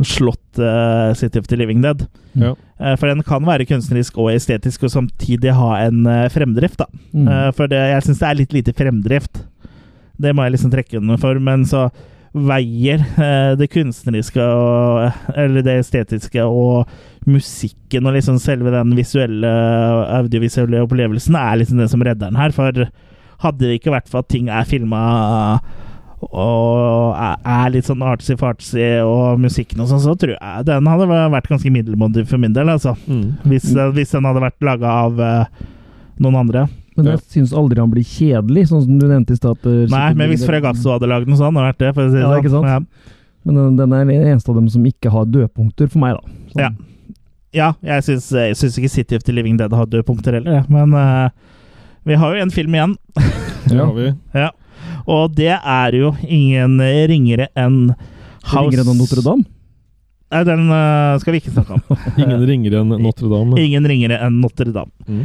eh, slått eh, City of the Living Dead. Ja. Eh, For den kan være kunstnerisk og estetisk, og samtidig ha en eh, fremdrift. da. Mm. Eh, For det, jeg syns det er litt lite fremdrift. Det må jeg liksom trekke under for. Men så veier eh, det kunstneriske og eh, Eller det estetiske og musikken og liksom selve den visuelle, audiovisuelle opplevelsen er liksom det som redder den her. For hadde det ikke vært for at ting er filma og er- er litt sånn artsy-fartsy og musikken og sånn, så tror jeg den hadde vært ganske middelmådig for min del, altså. Mm. Hvis, hvis den hadde vært laga av eh, noen andre. Men jeg syns aldri han blir kjedelig, sånn som du nevnte i stad. at, eh, Nei, City men Living hvis Dead- Fregasso hadde lagd noe sånt, hadde det vært det. For å si det Ja, sånn. ikke sant? Ja. Men uh, den, den er den eneste av dem som ikke har dødpunkter, for meg, da. Ja. Ja, jeg syns, jeg syns ikke City of the Living Dead har dødpunkter heller, jeg. men eh, vi har jo en film igjen. Det har vi. Ja. Og det er jo ingen ringere enn House Ringeren av Notre-Dame. Nei, den eh, skal vi ikke snakke om. Ingen ringer enn Notre-Dame. Ingen ringere enn Notre-Dame. Mm.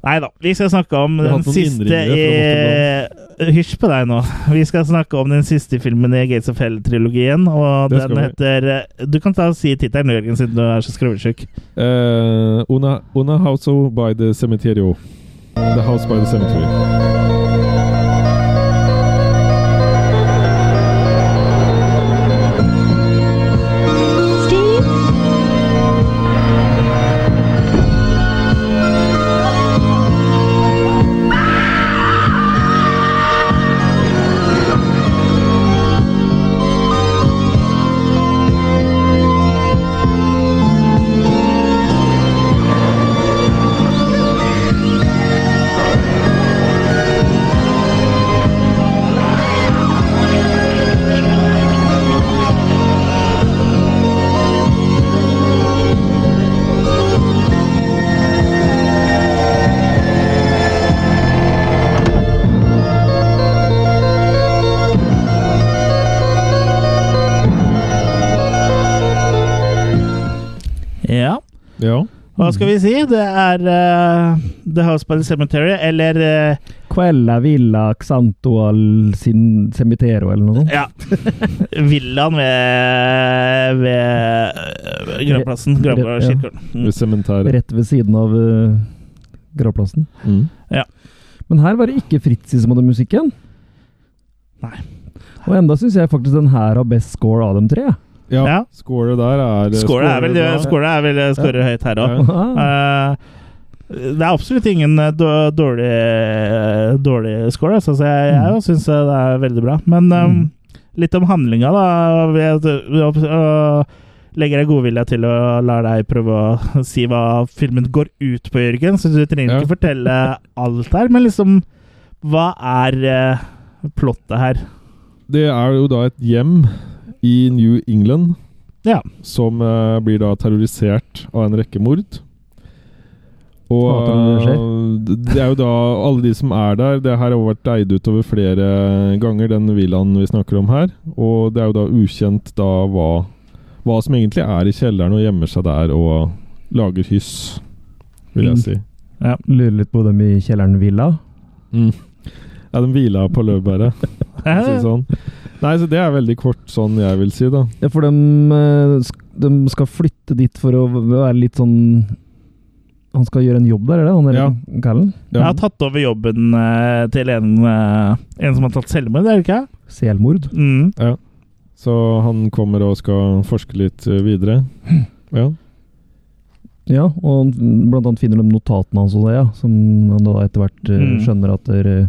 Nei da, vi skal snakke om Vi har den hatt noen siste i innringere Hysj på deg nå. Vi skal snakke om den siste filmen i Gates of Hell-trilogien, og Det den skal heter eh, Du kan ta og si tittelen, Jørgen, siden du er så skrullsjuk. Eh, una, una house by the cemeterio. The house by the cemetery. Steve? Ja. Ja. Hva skal vi si? Det er eh, The House by the Cemetery, eller eh, Quella Villa Xanto al sin Cemitero, eller noe sånt. Ja. Villaen ved, ved eh, Grønplassen. Grønpla Ja. kirkegården. Mm. Ved cementeriet. Rett ved siden av uh, gravplassen. Mm. Men her var det ikke Fritzi som hadde musikken. Nei. Og enda syns jeg faktisk den her har best score av dem tre. jeg. Ja. Ja. Skålet der er Skåla er vel, bra. skåla er vel eh, skårer høyt her òg. Ah, Eh, det er absolutt ingen eh, dår- dårlig, eh, dårlig score, altså, så jeg, jeg syns det er veldig bra. Men Mm. eh, litt om handlinga, da. Vi- vi- og legger jeg godvilja til og lar deg prøve å si hva filmen går ut på, Jørgen. Så du trenger Ja. ikke fortelle alt her, men liksom Hva er eh, plottet her? Det er jo da et hjem i New England Ja. som eh, blir da terrorisert av en rekke mord. Og Hater når det eh, det er jo da alle de som er der Det her har jo vært leid ut over flere ganger, den villaen vi snakker om her. Og det er jo da ukjent da hva, hva som egentlig er i kjelleren og gjemmer seg der og lager hyss, vil Mm. jeg si. Lurer litt på dem i kjelleren Villa. Ja, den hvila på laurbæret, for å si det sånn. Nei, så det er veldig kort sånn jeg vil si, da. Ja, for de, skal flytte dit for å v- være litt sånn Han skal gjøre en jobb der, er det? Han er Ja. Gallen? Jeg har tatt over jobben eh, til en, eh, en som har tatt selvmord, er det ikke? Selmord. Mm. Så han kommer og skal forske litt eh, videre. Hmm. Ja. Ja, og han- blant annet finner de notatene hans og det, ja. Som han da etter hvert eh, Mm. skjønner at det er, eh,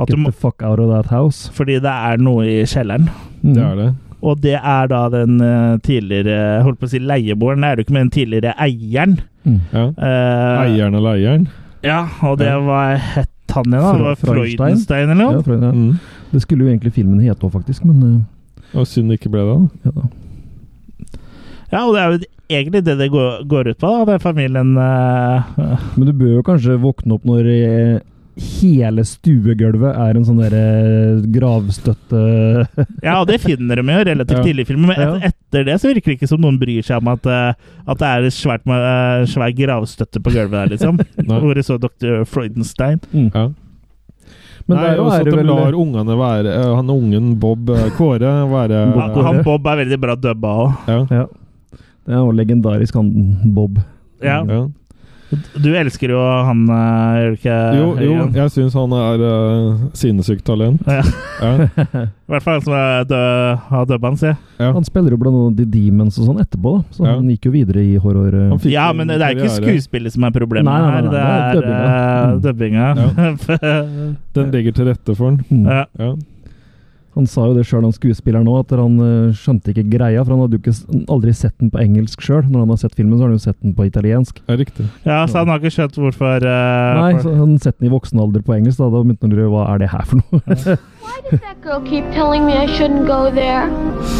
At du må, Get the fuck out of that house. fordi det er noe i kjelleren. Mm. Det er det. Og det er da den eh, tidligere holdt på å si leieboeren, det er det jo ikke, men den tidligere eieren. Mm. Ja. Eh, Eieren eller eieren. Ja, og det Ja. var hett han igjen, da. Det var Fra- Freudenstein? Freudenstein eller Ja, noe? for, ja. Mm. Det skulle jo egentlig filmen hete òg, faktisk, men eh, Og synd det ikke ble det. da. ja da. Ja, og det er jo egentlig det det går, går ut på, da. Det er familien eh, Men du bør jo kanskje våkne opp når eh, hele stuegulvet er en sånn derre gravstøtte Ja, og det finner de jo relativt Ja. tidlig i filmen, men Ja. et, etter det så virker det ikke som noen bryr seg om at, eh, at det er et svært, eh, svær gravstøtte på gulvet der, liksom. Nei. Hvor det så Dr. Freudenstein. Ja. Men Nei, der også er at det de vel lar ungene være eh, Han ungen Bob eh, Kåre være Bob Kåre. Han Bob er veldig bra dubba òg. Ja. eh, Ja. Det er jo legendarisk han Bob. Ja. Ja. Du elsker jo han, eh, gjør du ikke? Jo, jo, Jørgen? jeg syns han er eh, sinnssykt talent. Ja. Ja. I hvert fall han som er dø, har dubba hans, ja. Ja. Han spiller jo blant annet i Demons og sånn etterpå, da. så Ja. han gikk jo videre i horror. eh. Han fikk ja. en Men det er ikke karriere. skuespillet som er problemet Nei, nei, nei, nei, her, det det er er dubbinga. Den ligger til rette for han. Mm. ja. Ja. Han sa jo det sjøl, han skuespilleren òg, at han eh, skjønte ikke greia. For han hadde jo ikke, s- aldri sett den på engelsk sjøl. Når han har sett filmen, så har han jo sett den på italiensk. ja, riktig. ja, så han har ikke skjønt hvorfor eh, Nei, folk- så han hadde sett den i voksen alder på engelsk. Da, da begynte han å lure hva er det her for noe. Why does that girl keep telling me I shouldn't go there?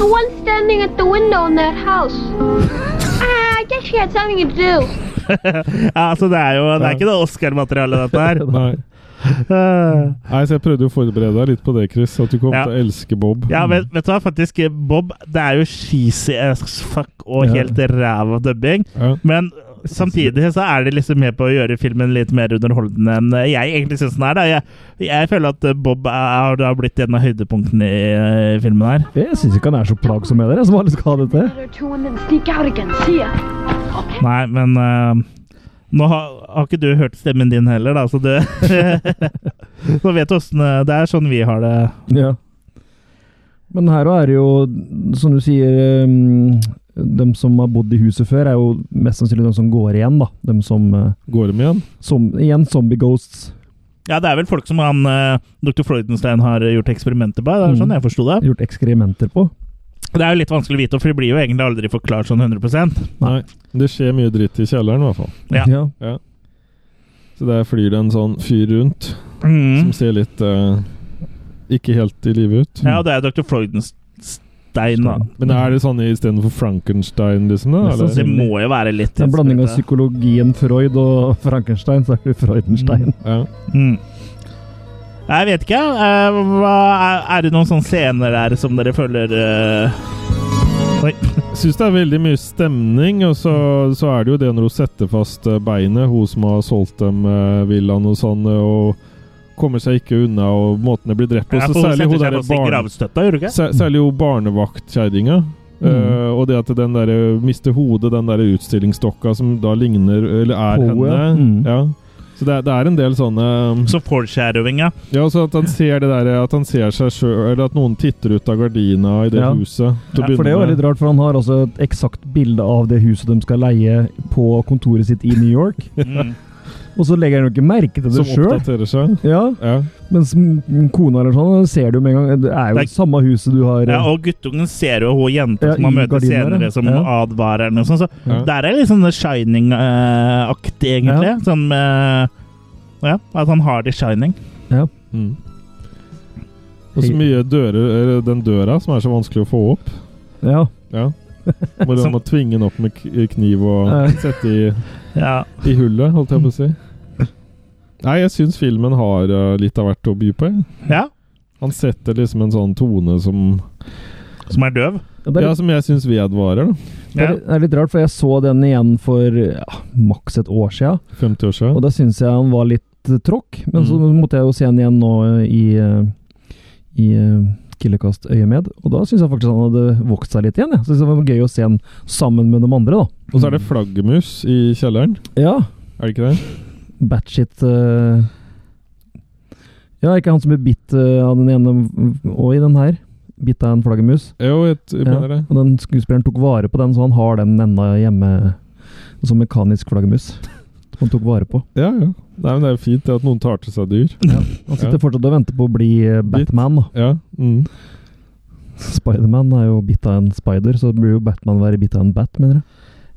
The one standing at the window in that house. Ah, I guess she had something to do. Ja, altså det er jo det er ikke noe Oscar-materiale, dette her. Nei. Eh, Nei, så jeg prøvde å forberede deg litt på det, Chris. At du kom Ja. til å elske Bob. Ja, vet, vet du hva, faktisk, Bob, det er jo cheesy as fuck og Ja. helt ræva dubbing, Ja. men samtidig så er det liksom med på å gjøre filmen litt mer underholdende enn jeg egentlig syns den er. Da. Jeg, jeg føler at Bob er, har blitt en av høydepunktene i eh, filmen her. Jeg syns ikke han er så plagsom heller, jeg, som alle skal ha det til. Another two and then sneak out again. See ya. Nei, men eh, nå har, har ikke du hørt stemmen din heller, da, så du Nå vet du åssen eh, Det er sånn vi har det. Ja. Men her også er det jo, som du sier um, De som har bodd i huset før, er jo mest sannsynlig de som går igjen, da. De som, eh, Går de igjen? som Igjen zombie ghosts. Ja, det er vel folk som han eh, dr. Freudenstein har gjort eksperimenter på. Det er sånn Mm. jeg forsto det. Gjort ekskrementer på. Det er jo litt vanskelig å vite, for det blir jo egentlig aldri forklart sånn 100 Nei. Det skjer mye dritt i kjelleren, i hvert fall. Ja. Så der flyr det en sånn fyr rundt som mm. ser litt eh, ikke helt i live ut. Ja, og det er dr. Freudenstein, da. Men er det sånn istedenfor Frankenstein, liksom? Da, Nesten eller? Det sånn må jo være litt Det er en blanding av inspirert, psykologien Freud og Frankenstein, så er det Freudenstein. Ja. da. mm. Jeg vet ikke. eh, hva, er, er det noen sånne scener der som dere føler eh, Oi. Syns det er veldig mye stemning, og så, så er det jo det når hun setter fast eh, beinet, hun som har solgt dem eh, villaen og sånn, eh, og kommer seg ikke unna, og måten det blir drept på. Ja, Så for hun særlig setter hun seg derre fast i barne... gravstøtta, gjør hun ikke? sær- Særlig hun barnevaktkjerringa. Mm. eh, og det at den der eh, mister hodet, den der utstillingsdokka som da ligner Eller er På henne, henne. mm. Ja. Så det, er- det er en del sånne eh, Så foreshadowing, ja. Ja, altså at han ser det der At han ser seg sjøl Eller at noen titter ut av gardina i det Ja. huset. til å Ja, for det begynne er jo med. veldig rart, for han har altså et eksakt bilde av det huset de skal leie på kontoret sitt i New York. Mm. Og så legger han jo ikke merke til det Som sjøl. oppdaterer seg. Ja, Ja. mens m- kona eller sånn ser du jo med en gang. Det er jo Det er- det samme huset du har. eh, Ja, og guttungen ser jo hun jenta Ja, som han i møter gardiner, ja. senere, som Ja. advarer henne og sånn. Så Ja. der er litt sånn Shining-aktig, egentlig. Ja. Sånn eh, Ja, at han har det i Shining. Mm. Og så mye dører eller Den døra som er så vanskelig å få opp. ja. Ja. Hvor han må tvinge den opp med k- kniv og Ja. sette i, Ja. i hullet, holdt jeg på å si. Nei, jeg syns filmen har eh, litt av hvert å by på. jeg. ja. Han setter liksom en sånn tone som Som er døv. Ja, Det, er, Ja, som jeg syns vedvarer, da. det Ja. er- det er litt rart, for jeg så den igjen for ja, maks et år sia. 50 år Og siden. da syns jeg han var litt eh, tråkk, men så Mm. måtte jeg jo se han igjen nå eh, i, eh, i eh, Killekast-øyemed. Og da syns jeg faktisk han hadde vokst seg litt igjen. Jeg synes det var gøy å se han sammen med de andre, da. Og så er det flaggermus i kjelleren. Ja, Er det ikke det? batshit eh, Ja, ikke han som ble bitt eh, av den ene, og i den her. Bitt av en flaggermus. Jo, jeg t- Ja, mener det. og den skuespilleren tok vare på den, så han har den ennå hjemme som mekanisk flaggermus. Som han tok vare på. Ja, ja. Nei, men det er jo fint det at noen tar til seg dyr. Han sitter fortsatt og venter på å bli eh, Batman. da. Ja. Mm. Spiderman er jo bitt av en spider, så burde jo Batman være bitt av en bat, mener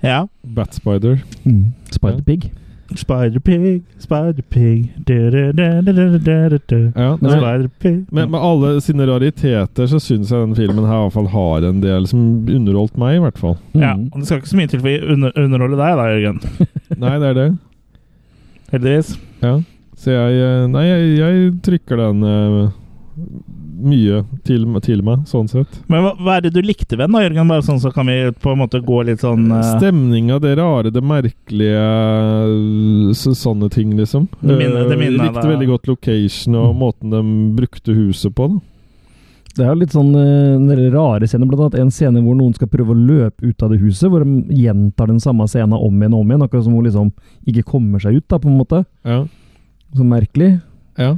jeg. Ja. Batspider. Mm. Spider-pig. Spider-pig, spider-pig du-du-du-du-du-du-du. Ja, nei, Spider-pig Men med alle sine rariteter så syns jeg den filmen her i hvert fall har en del som underholdt meg, i hvert fall. Mm. Ja, og Det skal ikke så mye til for å under underholde deg, da, Jørgen. Nei, det er det. Heldigvis. Ja. Så jeg eh, Nei, jeg, jeg trykker den eh, mye til, til meg, sånn sett. Men hva, hva er det du likte ved den, da, Jørgen? Bare sånn så kan vi på en måte gå litt sånn eh, Stemninga, det rare, det merkelige så, Sånne ting, liksom. Det minner- det Eh, minner likte deg- Mm. veldig godt location og måten de brukte huset på. Da. Det er jo litt sånn eh, en del rare scener, blant annet en scene hvor noen skal prøve å løpe ut av det huset, hvor de gjentar den samme scenen om igjen og om igjen, akkurat som hun liksom ikke kommer seg ut, da, på en måte. Ja. Så merkelig. Ja. ja.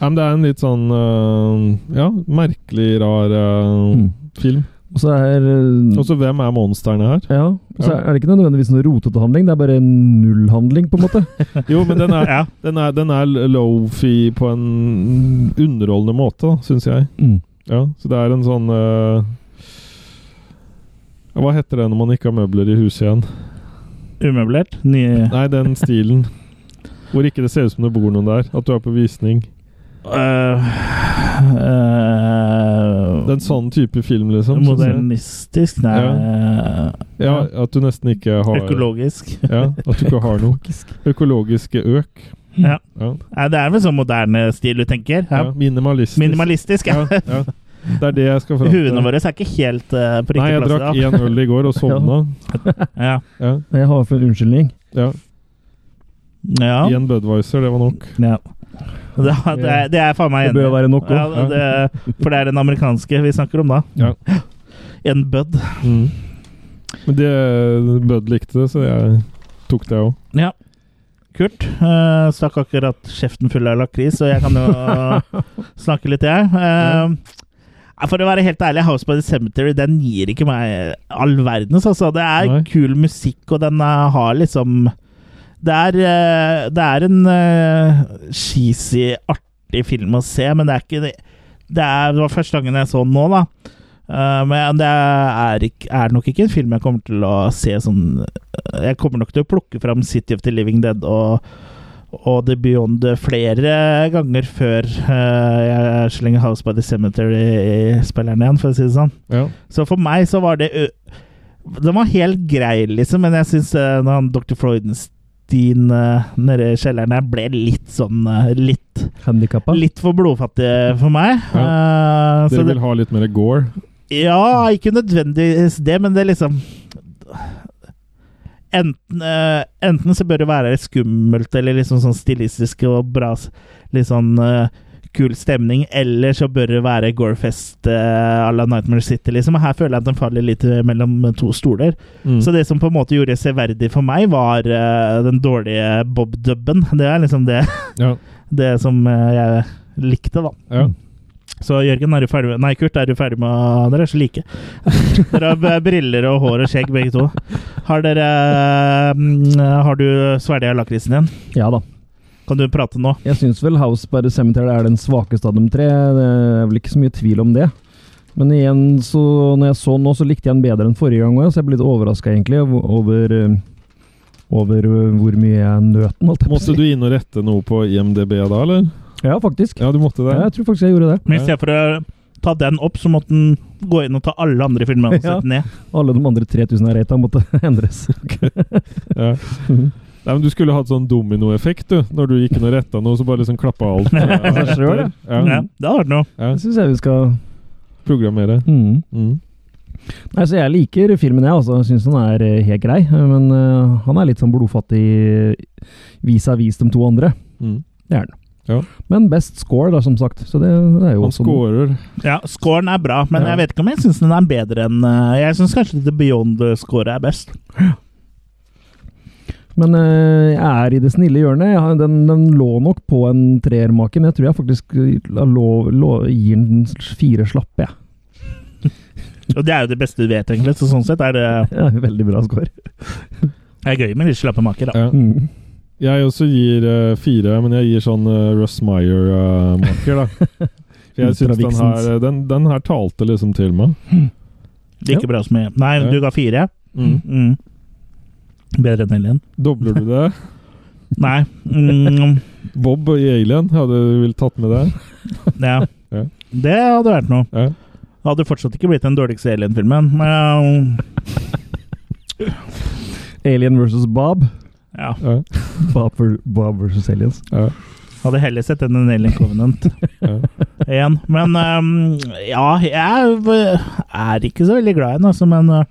Men det er en litt sånn øh, Ja, merkelig, rar øh, Mm. film. Og så er eh, Også hvem er monstrene her? ja, og så Ja. er det ikke nødvendigvis noen rotete handling, det er bare nullhandling, på en måte. Jo, men den er, Ja. den er, den er low-fee på en underholdende måte, syns jeg. Mm. Ja, så det er en sånn øh, ja, Hva heter det når man ikke har møbler i huset igjen? umøblert? Ny Nei, den stilen. Hvor ikke det ser ut som det bor noen der. At du er på visning. Eh, eh, Det er en sånn type film, liksom. synes jeg. Modernistisk? Nei eh, Ja, At du nesten ikke har Økologisk? Ja, at du ikke har noe. Økologiske øk. Ja. Ja. Nei, det er vel sånn moderne stil du tenker? Ja. Ja. Minimalistisk. Minimalistisk, ja. Ja, ja. Det er det jeg skal fram til. Huene våre er ikke helt eh, på Nei, riktig jeg plass. drakk i dag. én øl i går og sovna. Ja. Ja, Jeg har for en unnskyldning. ja. Ja. Én Budwiser, det var nok. ja. Det, det, er, det er faen meg Det bør være nok Ja, òg. det, for det er den amerikanske vi snakker om da. Ja. En bud. Mm. Men det, Bud likte det, så jeg tok det òg. Ja. Kult. Eh, stakk akkurat kjeften full av lakris, så jeg kan jo snakke litt, jeg. Eh, for å være helt ærlig, House by the Cemetery den gir ikke meg all verdens. Altså. Det er Nei. kul musikk, og den eh, har liksom Det er, eh, det er en eh, cheesy, artig film å se, men det er ikke det, det, er, det var første gangen jeg så den nå, da. Eh, men det er, ikk- er nok ikke en film jeg kommer til å se sånn Jeg kommer nok til å plukke fram City of the Living Dead og, og The Beyond flere ganger før eh, jeg slenger House by the Cemetery i spilleren igjen, for å si det sånn. Ja. Så for meg så var det ø- Den var helt grei, liksom, men jeg syns når han Dr. Freudenstein eh, nede i kjelleren her ble litt sånn eh, litt, Handikappa. litt for blodfattig for meg. Eh, så Dere det- vil ha litt mer gore? ja, ikke nødvendigvis det, men det er liksom Enten, eh, enten så bør det være litt skummelt eller liksom sånn stilistisk og bra s- Litt sånn eh, kul stemning, eller så bør det være Gorefest eh, à la Nightmare City, liksom. Og her føler jeg at den faller litt eh, mellom to stoler. Mm. Så det som på en måte gjorde severdig for meg, var eh, den dårlige Bob-dubben. Det er liksom det, Ja. det som eh, jeg likte, da. ja. Så Jørgen, er du ferdig med Nei, Kurt, er du ferdig med Dere er så like. Dere har b- briller og hår og skjegg, begge to. Har dere mm, Har du svelga lakrisen din? Ja da. Kan du prate nå? Jeg syns vel House by the Cemetery er den svakeste av de tre. Det er vel ikke så mye tvil om det. Men igjen, så når jeg så den nå, så likte jeg den bedre enn forrige gang òg, så jeg ble litt overraska egentlig over, over, eh, over eh, hvor mye jeg nøt den. holdt jeg på å Måtte du inn og rette noe på IMDb da, eller? si. Ja, faktisk. Ja, du måtte det? Ja, jeg tror faktisk jeg gjorde det. Men i stedet for å ta den opp, så måtte den gå inn og ta alle andre filmer og Ja. sette ned. Alle de andre 3000 jeg rata, måtte endres. Ja. Mhm. Nei, men Du skulle hatt sånn dominoeffekt, du. Når du gikk inn og retta noe, så bare liksom klappa alt. eh, Seg selv, etter. Ja, ja. det hadde vært noe. Ja. Det syns jeg vi skal Programmere. mm. Mm. Nei, så Jeg liker filmen, jeg. altså. Jeg syns den er eh, helt grei. eh, Men eh, han er litt sånn blodfattig eh, vis-à-vis de to andre. Mm. Det er den. Ja. Men best score, da, som sagt. Så det, det er jo Han også scorer. Ja, Scoren er bra, men Ja. jeg vet ikke om jeg syns den er bedre enn eh, Jeg syns kanskje The Beyond-scoret er best. Men eh, jeg er i det snille hjørnet. Jeg har, den, den lå nok på en treermake, men jeg tror jeg faktisk eh, la- lå, lå, gir den fire slappe, jeg. Og det er jo det beste du vet, egentlig, så sånn sett er det, Det er en Veldig bra score. er gøy med litt slappe maker, da. Ja. Mm. Jeg også gir eh, fire, men jeg gir sånn eh, Russ Meyer-maker, da. For jeg syns den her, eh, Ultraviksens. den, den her talte liksom til meg. Like bra som jeg. Nei, Ja. du ga fire. Mm. Bedre enn Alien? Dobler du det? Nei. Mm, Bob i Alien, hadde du vel tatt med det? ja. Ja. Det hadde vært noe. Ja. Det hadde fortsatt ikke blitt den dårligste Alien-filmen. men, Alien versus Bob. Ja. Ja. Bob, for, Bob versus Aliens. Ja. Hadde heller sett den enn Alien Covenant Ja. igjen. Men ehm, ja, jeg v- er ikke så veldig glad i den, altså. Men eh,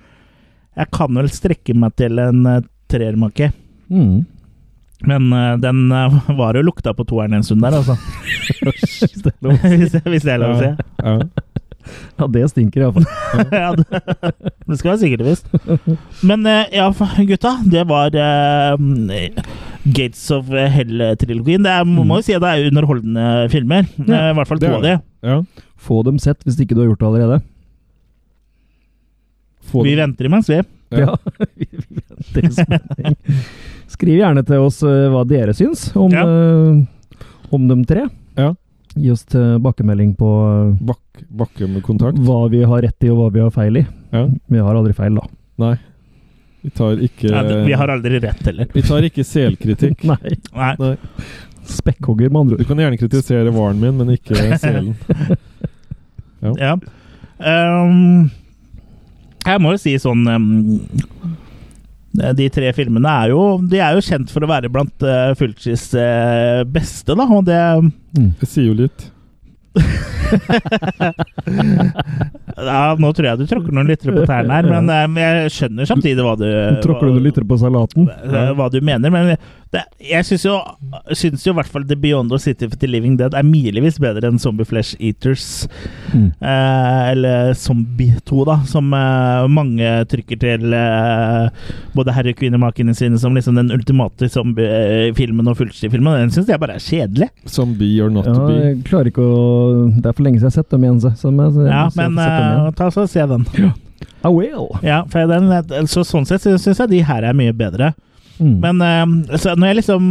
jeg kan vel strekke meg til en eh, treermakke. Mm. Men eh, den eh, var jo lukta på toeren en stund der, altså. hvis, det- hvis det er lov å si. Ja. Ja, det stinker iallfall. ja, det, det skal være sikkert og visst. Men eh, ja, gutta, det var eh, Gates of Hell-trilogien. Det er, må jo si at det er underholdende filmer. Eh, I hvert fall det to er av de. Ja. Få dem sett hvis ikke du har gjort det allerede. Få Vi det- venter imens, vi. Ja. Ja, vi vi venter i spenning. Skriv gjerne til oss eh, hva dere syns om, Ja. eh, om de tre. Ja. Gi oss tilbakemelding på eh, Bak, bakke med kontakt. hva vi har rett i og hva vi har feil i. Ja. Vi har aldri feil, da. Nei. Vi tar ikke Ja, det- vi har aldri rett heller. Vi tar ikke selkritikk. Nei. Nei. Nei. Spekkhogger, med andre Du ord. kan gjerne kritisere varen min, men ikke selen. Ja. Ehm, jeg må jo si sånn ehm, De tre filmene er jo De er jo kjent for å være blant uh, Fulchis eh, beste, da, og det Det sier jo litt. Ja, nå tror jeg du tråkker noen lyttere på tærne her, men eh, jeg skjønner samtidig hva du Mm. Tråkker du hva- og lytter på salaten? eh, Hva du mener, men det, jeg syns jo, syns jo i hvert fall The Beyond og City for the Living Dead er milevis bedre enn Zombie Flesh Eaters. Mm. Eh, eller Zombie 2, da, som eh, mange trykker til eh, både herre- og kvinnemakene sine som liksom den ultimate zombie-filmen og fullstidsfilmen. Den syns jeg bare er kjedelig. Som be or not Ja, to be. jeg klarer ikke å Det er for lenge siden jeg har sett dem igjen. Så, så jeg, så jeg Ja, må se- men få sett dem eh, igjen. Ah, ta så se den. I will! Ja, for den så sånn sett syns jeg de her er mye bedre. Mm. Men eh, så når jeg liksom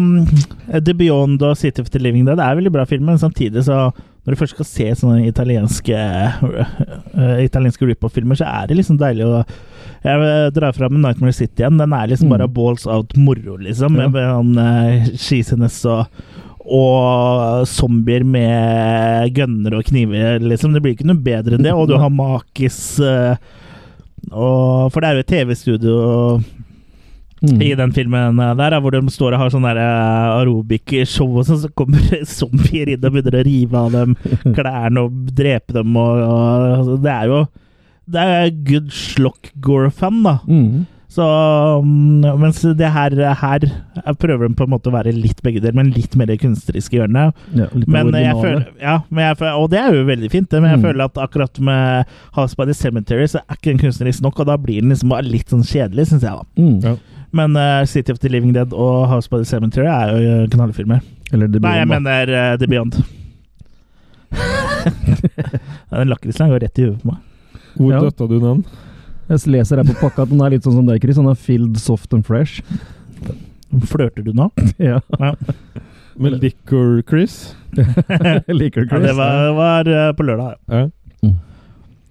The Beyond og City of the Living Dead er veldig bra filmer, men samtidig så Når du først skal se sånne italienske eh, Italienske rip-off-filmer, så er det liksom deilig å Jeg drar fram Nightmare City igjen. Den er liksom Mm. bare balls out-moro, liksom. Ja. Med han eh, cheesiness og og zombier med gønner og kniver, liksom. Det blir ikke noe bedre enn det. Og du har Makis eh, og, For det er jo et TV-studio Mm. i den filmen eh, der, da, hvor de står og har sånn der eh, aerobic-show, og sånn, så kommer det zombier inn og begynner å rive av dem klærne og drepe dem, og, og altså, Det er jo Det er good slock gore-fan, da. Mm. Så mm, Mens det her, her jeg prøver de på en måte å være litt begge deler, men litt mer det kunstneriske hjørnet. Ja, litt Men eh, jeg originale. føler, ja, men jeg føler, og det er jo veldig fint, det, men jeg Mm. føler at akkurat med House by the Cemetery så er ikke den kunstnerisk nok, og da blir den liksom bare litt sånn kjedelig, syns jeg. da Mm. Ja. men eh, City of the Living Dead og House by the Cemetery er jo eh, knallfilmer. Eller det blir Nei, jeg en- mener eh, The Beyond. ja, den lakrislangen går rett i huet på meg. Hvor Ja. døtta du den? Jeg leser her på pakka at den er litt sånn som deg, Chris. Den er filled soft and fresh. Flørter du nå? Ja, Med Liquor Chris? jeg liker Ja, det, Chris. det var, var eh, på lørdag. Ja. ja.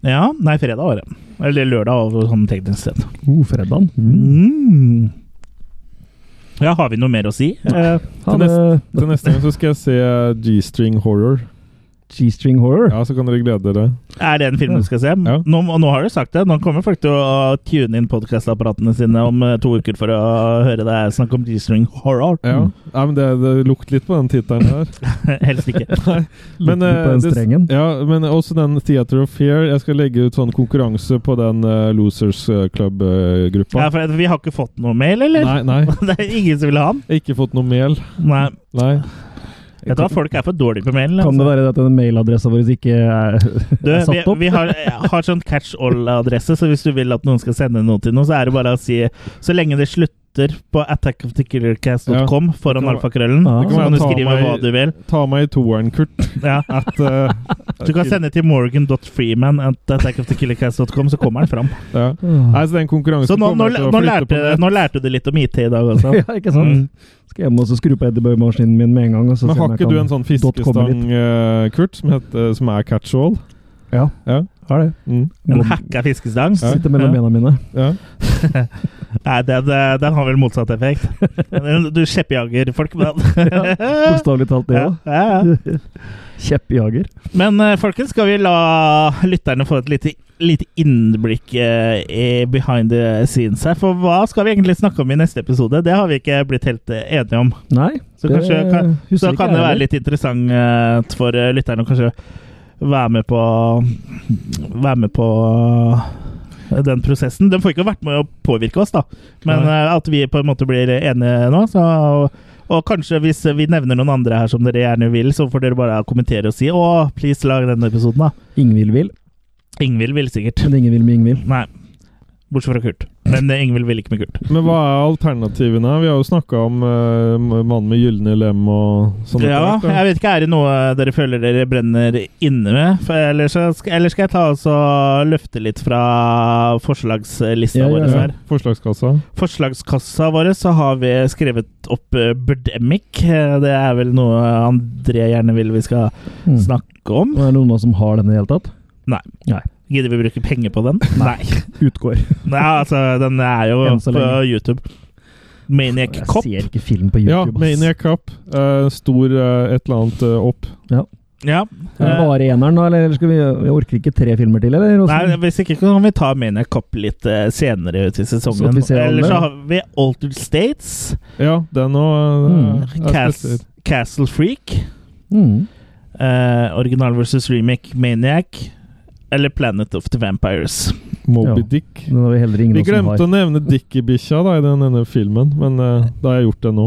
Ja, nei, fredag var det. Eller lørdag over sånn teknisk sett. Oh, fredagen. Mm. Ja, har vi noe mer å si? Eh, Ha Til det. Til neste gang så skal jeg se G-String Horror. G-string horror. Ja, så kan dere glede dere. er det en film du skal se? Ja. Nå, og nå har du sagt det. Nå kommer folk til å tune inn podkastapparatene sine om eh, to uker for å høre deg snakke om G-string horror. Ja, Mm. Nei, men det, det lukter litt på den tittelen der. Helst ikke. Litt eh, på den det- strengen. Ja, men også den Theater of Fear. Jeg skal legge ut sånn konkurranse på den eh, Losers eh, Ja, Club-gruppa. for vi har ikke fått noe mail, eller? nei, nei. Det er ingen som vil ha den. Jeg har ikke fått noe mel. Nei. Nei. Jeg tror folk er for dårlige på mailen. Kan det altså. være at denne mailadressa vår ikke er, Du, vi, er satt opp? vi har, har sånn catch all-adresse, så hvis du vil at noen skal sende noe til noen, så er det bare å si Så lenge det slutter på attackofthekillercast.com foran Ja. alfakrøllen, Ja. så Det kan være kan du ta skrive meg- hva du vil. Ta meg i toeren, Kurt. Ja. At, eh, Du kan sende til morgan.freeman at attackofthekillercast.com, så kommer den fram. ja. Ah. Nei, så den konkurransen Så nå, nå, kommer til å nå, flytte lærte, på nett. nå lærte du litt om IT i dag også. Ja, ikke sant? Mm. Skal hjem og så skru på Eddie-maskinen min med en gang. Og så Men se om har jeg ikke du kan- en sånn dot com fiskestang, eh, Kurt, som, heter, som er catch-all? Ja, Ja. har det. Mm. En hacka fiskestang. Sitter mellom bena mine. Ja. Nei, den, eh, den har vel motsatt effekt. Du skjeppjager folk med den. Bokstavelig talt, det Ja, òg. ja, ja. Kjeppjager. Men eh, folkens, skal vi la lytterne få et lite, lite innblikk eh, i behind the scenes her? For hva skal vi egentlig snakke om i neste episode? Det har vi ikke blitt helt eh, enige om. Nei, Så kanskje- kan- husker Så ikke kan jeg det være heller. litt interessant eh, for eh, lytterne å kanskje være med på Være med på eh, den prosessen. De får ikke vært med å påvirke oss, da, men eh, at vi på en måte blir enige nå. Så, og, og kanskje hvis vi nevner noen andre her som dere gjerne vil, så får dere bare kommentere og si 'Å, please, lag denne episoden', da. Ingvild vil, Ingvild vil sikkert. men ingen vil med Ingvild. Nei. Bortsett fra Kurt. Men eh, Ingvild vil ikke med Kurt. Men hva er alternativene? Vi har jo snakka om eh, mannen med gylne lem og Sånn sånne Ja, ting. jeg vet ikke, er det noe dere føler dere brenner inne med? For ellers, så skal, eller skal jeg ta og så løfte litt fra forslagslista Ja, ja, vår ja. her. Forslagskassa. Forslagskassa vår så har vi skrevet opp eh, Birdemic. Eh, Det er vel noe André gjerne vil vi skal Mm. snakke om. Og Er det noen av oss som har den i det hele tatt? Gidder vi bruke penger på den? Nei. Utgår. Nei, altså, den er jo Enn så på lenge. YouTube. Maniac Jeg Cop. ser ikke film på Ja, YouTube. ass. Maniac Cup. Eh, stor eh, et eller annet eh, opp. Ja. Er det eh, bare eneren, da? Eller skal vi, jeg orker ikke tre filmer til, eller? Hvordan- Nei, hvis ikke kan vi ta Maniac Cop litt eh, senere ut i Så sesongen. at vi ser alle. Eller så har vi Altered States, Ja, den eh, òg. Mm. Cas Castle Freak, Mm. eh, original versus remake Maniac, eller Planet of the Vampires. Moby Ja. Dick. Den har vi heller ingen Vi av oss som glemte har. å nevne Dickie-bikkja da, i den ene filmen, men eh, da har jeg gjort det nå.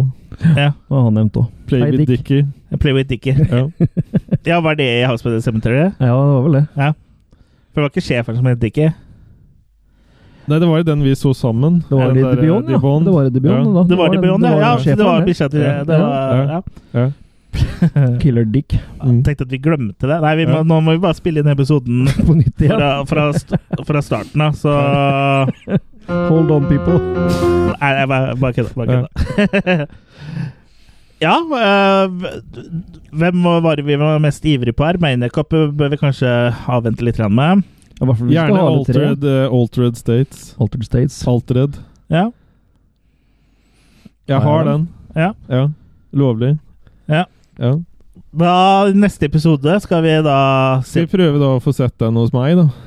Ja. Og han nevnte òg. Play Hei, with Dick. Dickie. Play with Dickie. Ja. Ja, var det i House by the Cemetery? Ja, det var vel det. For det var ikke sjefen som het Dickie. Nei, det var jo den vi så sammen. Det var Den i der, eh, Debion, ja. Debon. Det var i Debion, Ja. da. Det var i den- Beyond, ja. ja. sjefen, Det var bikkja til Ja. det var, ja. Ja. Killer Dick Mm. Tenkte at vi glemte det. Nei, vi må, Ja. nå må vi bare spille inn episoden på nytt igjen. fra, fra, st fra starten av, så Hold on, people. Nei, jeg bare bare kødda. Bare Ja. kødda. Ja, øh, hvem var det vi var mest ivrige på her? Maniacup bør vi kanskje avvente litt grann med. Ja, i hvert fall hvis vi skal Gjerne ha alle tre. Altered, eh, Altered States. Altered States. Altered. Ja, Jeg har den. Ja. ja. Lovlig. Ja. ja. da i Neste episode skal vi da Skal se vi prøve da å få sett den hos meg, da? Ja.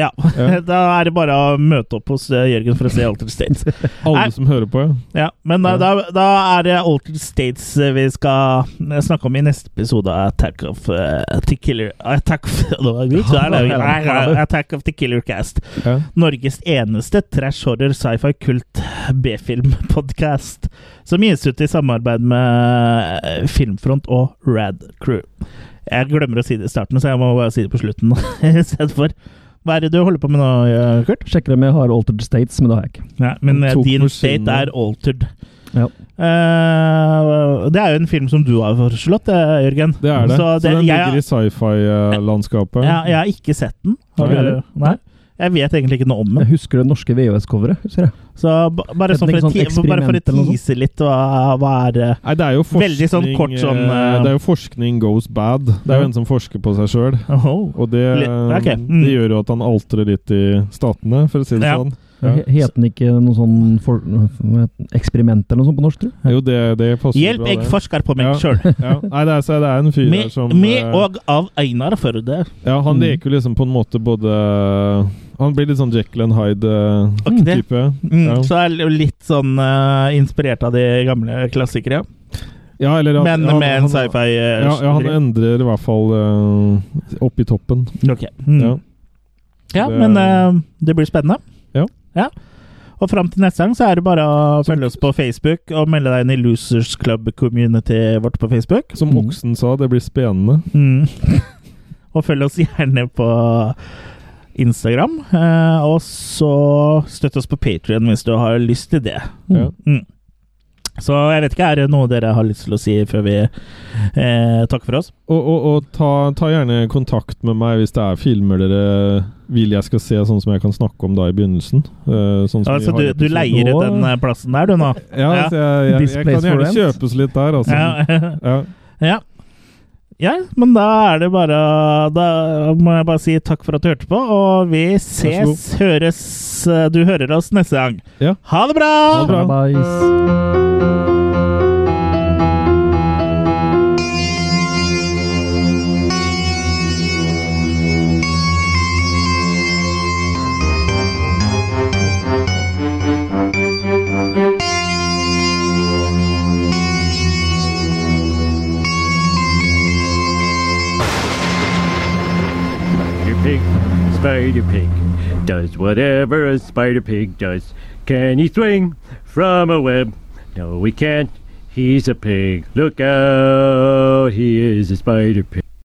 Ja. Da er det bare å møte opp hos eh, Jørgen for å se Altered States. Alle Nei. som hører på, ja. Ja, men da, da, da er det Altered States eh, vi skal snakke om i neste episode av Attack of eh, the Killer Attack of, Attack of the Killer Cast. ja. Norges eneste trash horror sci-fi kult B-film-podkast, som gis ut i samarbeid med eh, Filmfront og Rad Crew. Jeg glemmer å si det i starten, så jeg må bare si det på slutten istedenfor. Hva er det du holder på med nå, eh, Kurt? Sjekker om jeg har Altered States, men det har jeg ikke. Ja, men eh, Tok din maskinen. state er altered. Ja. Eh, det er jo en film som du har foreslått, eh, Jørgen. Det er det. Så, Så det- den jeg- ligger i sci-fi-landskapet. Ja, jeg har ikke sett den. Har Nei. du? Nei? Jeg vet egentlig ikke noe om den. Jeg husker det norske VHS-coveret. husker jeg. Så ba- bare, Jeg sånn tenker for, å sånn ti- bare for å eksperiment eller noe sånt. tease litt, hva, hva er eh, det Nei, det er jo forskning Veldig sånn kort sånn, eh, eh, Det er jo forskning goes bad. Det er jo en som forsker på seg sjøl. Oho. Og det, Li- ok, eh, mm. det gjør jo at han altrer litt i statene, for å si det Ja. sånn. Ja. He- Het den ikke noe sånn for, hva het den? eksperiment eller noe sånt på norsk, tror du? Jo, det, det passer Hjelp, bra, jeg det. forsker på meg Ja. selv sjøl. Ja. Nei, det er, så det er en fyr der som Med eh, og av Einar Førde. Ja, han Mm. leker jo liksom på en måte både Han blir litt sånn Jekyll and eh, Hyde-type. Ikke det? Mm, Så er det jo litt sånn eh, inspirert av de gamle klassikere. Ja, eller at- Men han- med en han- sci-fi eh, Ja, ja, han driv. endrer i hvert fall eh, opp i toppen. Ok. Mm. Ja. Ja, Det- men eh, det blir spennende. Ja. Og fram til neste gang så er det bare å følge oss på Facebook og melde deg inn i Losers Club-community vårt på Facebook. Som Mm. oksen sa, det blir spennende. Mm. og følg oss gjerne på Instagram. eh, og så støtt oss på Patrion hvis du har lyst til det. Ja. Mm. Så jeg vet ikke, er det noe dere har lyst til å si før vi eh, takker for oss? Og, og, og ta, ta gjerne kontakt med meg hvis det er filmer dere vil jeg skal se, sånn som jeg kan snakke om da i begynnelsen. Eh, sånn som Altså, du, vi har i du episoden. leier ut den eh, plassen der, du, nå? Ja, Ja. så jeg, jeg, jeg Displays kan for gjerne rent. kjøpes litt der, altså. Ja. Ja. ja. Ja, men da er det bare Da må jeg bare si takk for at du hørte på, og vi Vær ses, så høres eh, Du hører oss neste gang. Ja. Ha det bra! Ha det bra. Bye. Spider Pig, Spider Pig does whatever a Spider Pig does. Can he swing from a web? No, we can't. He's a pig. Look out, he is a Spider Pig.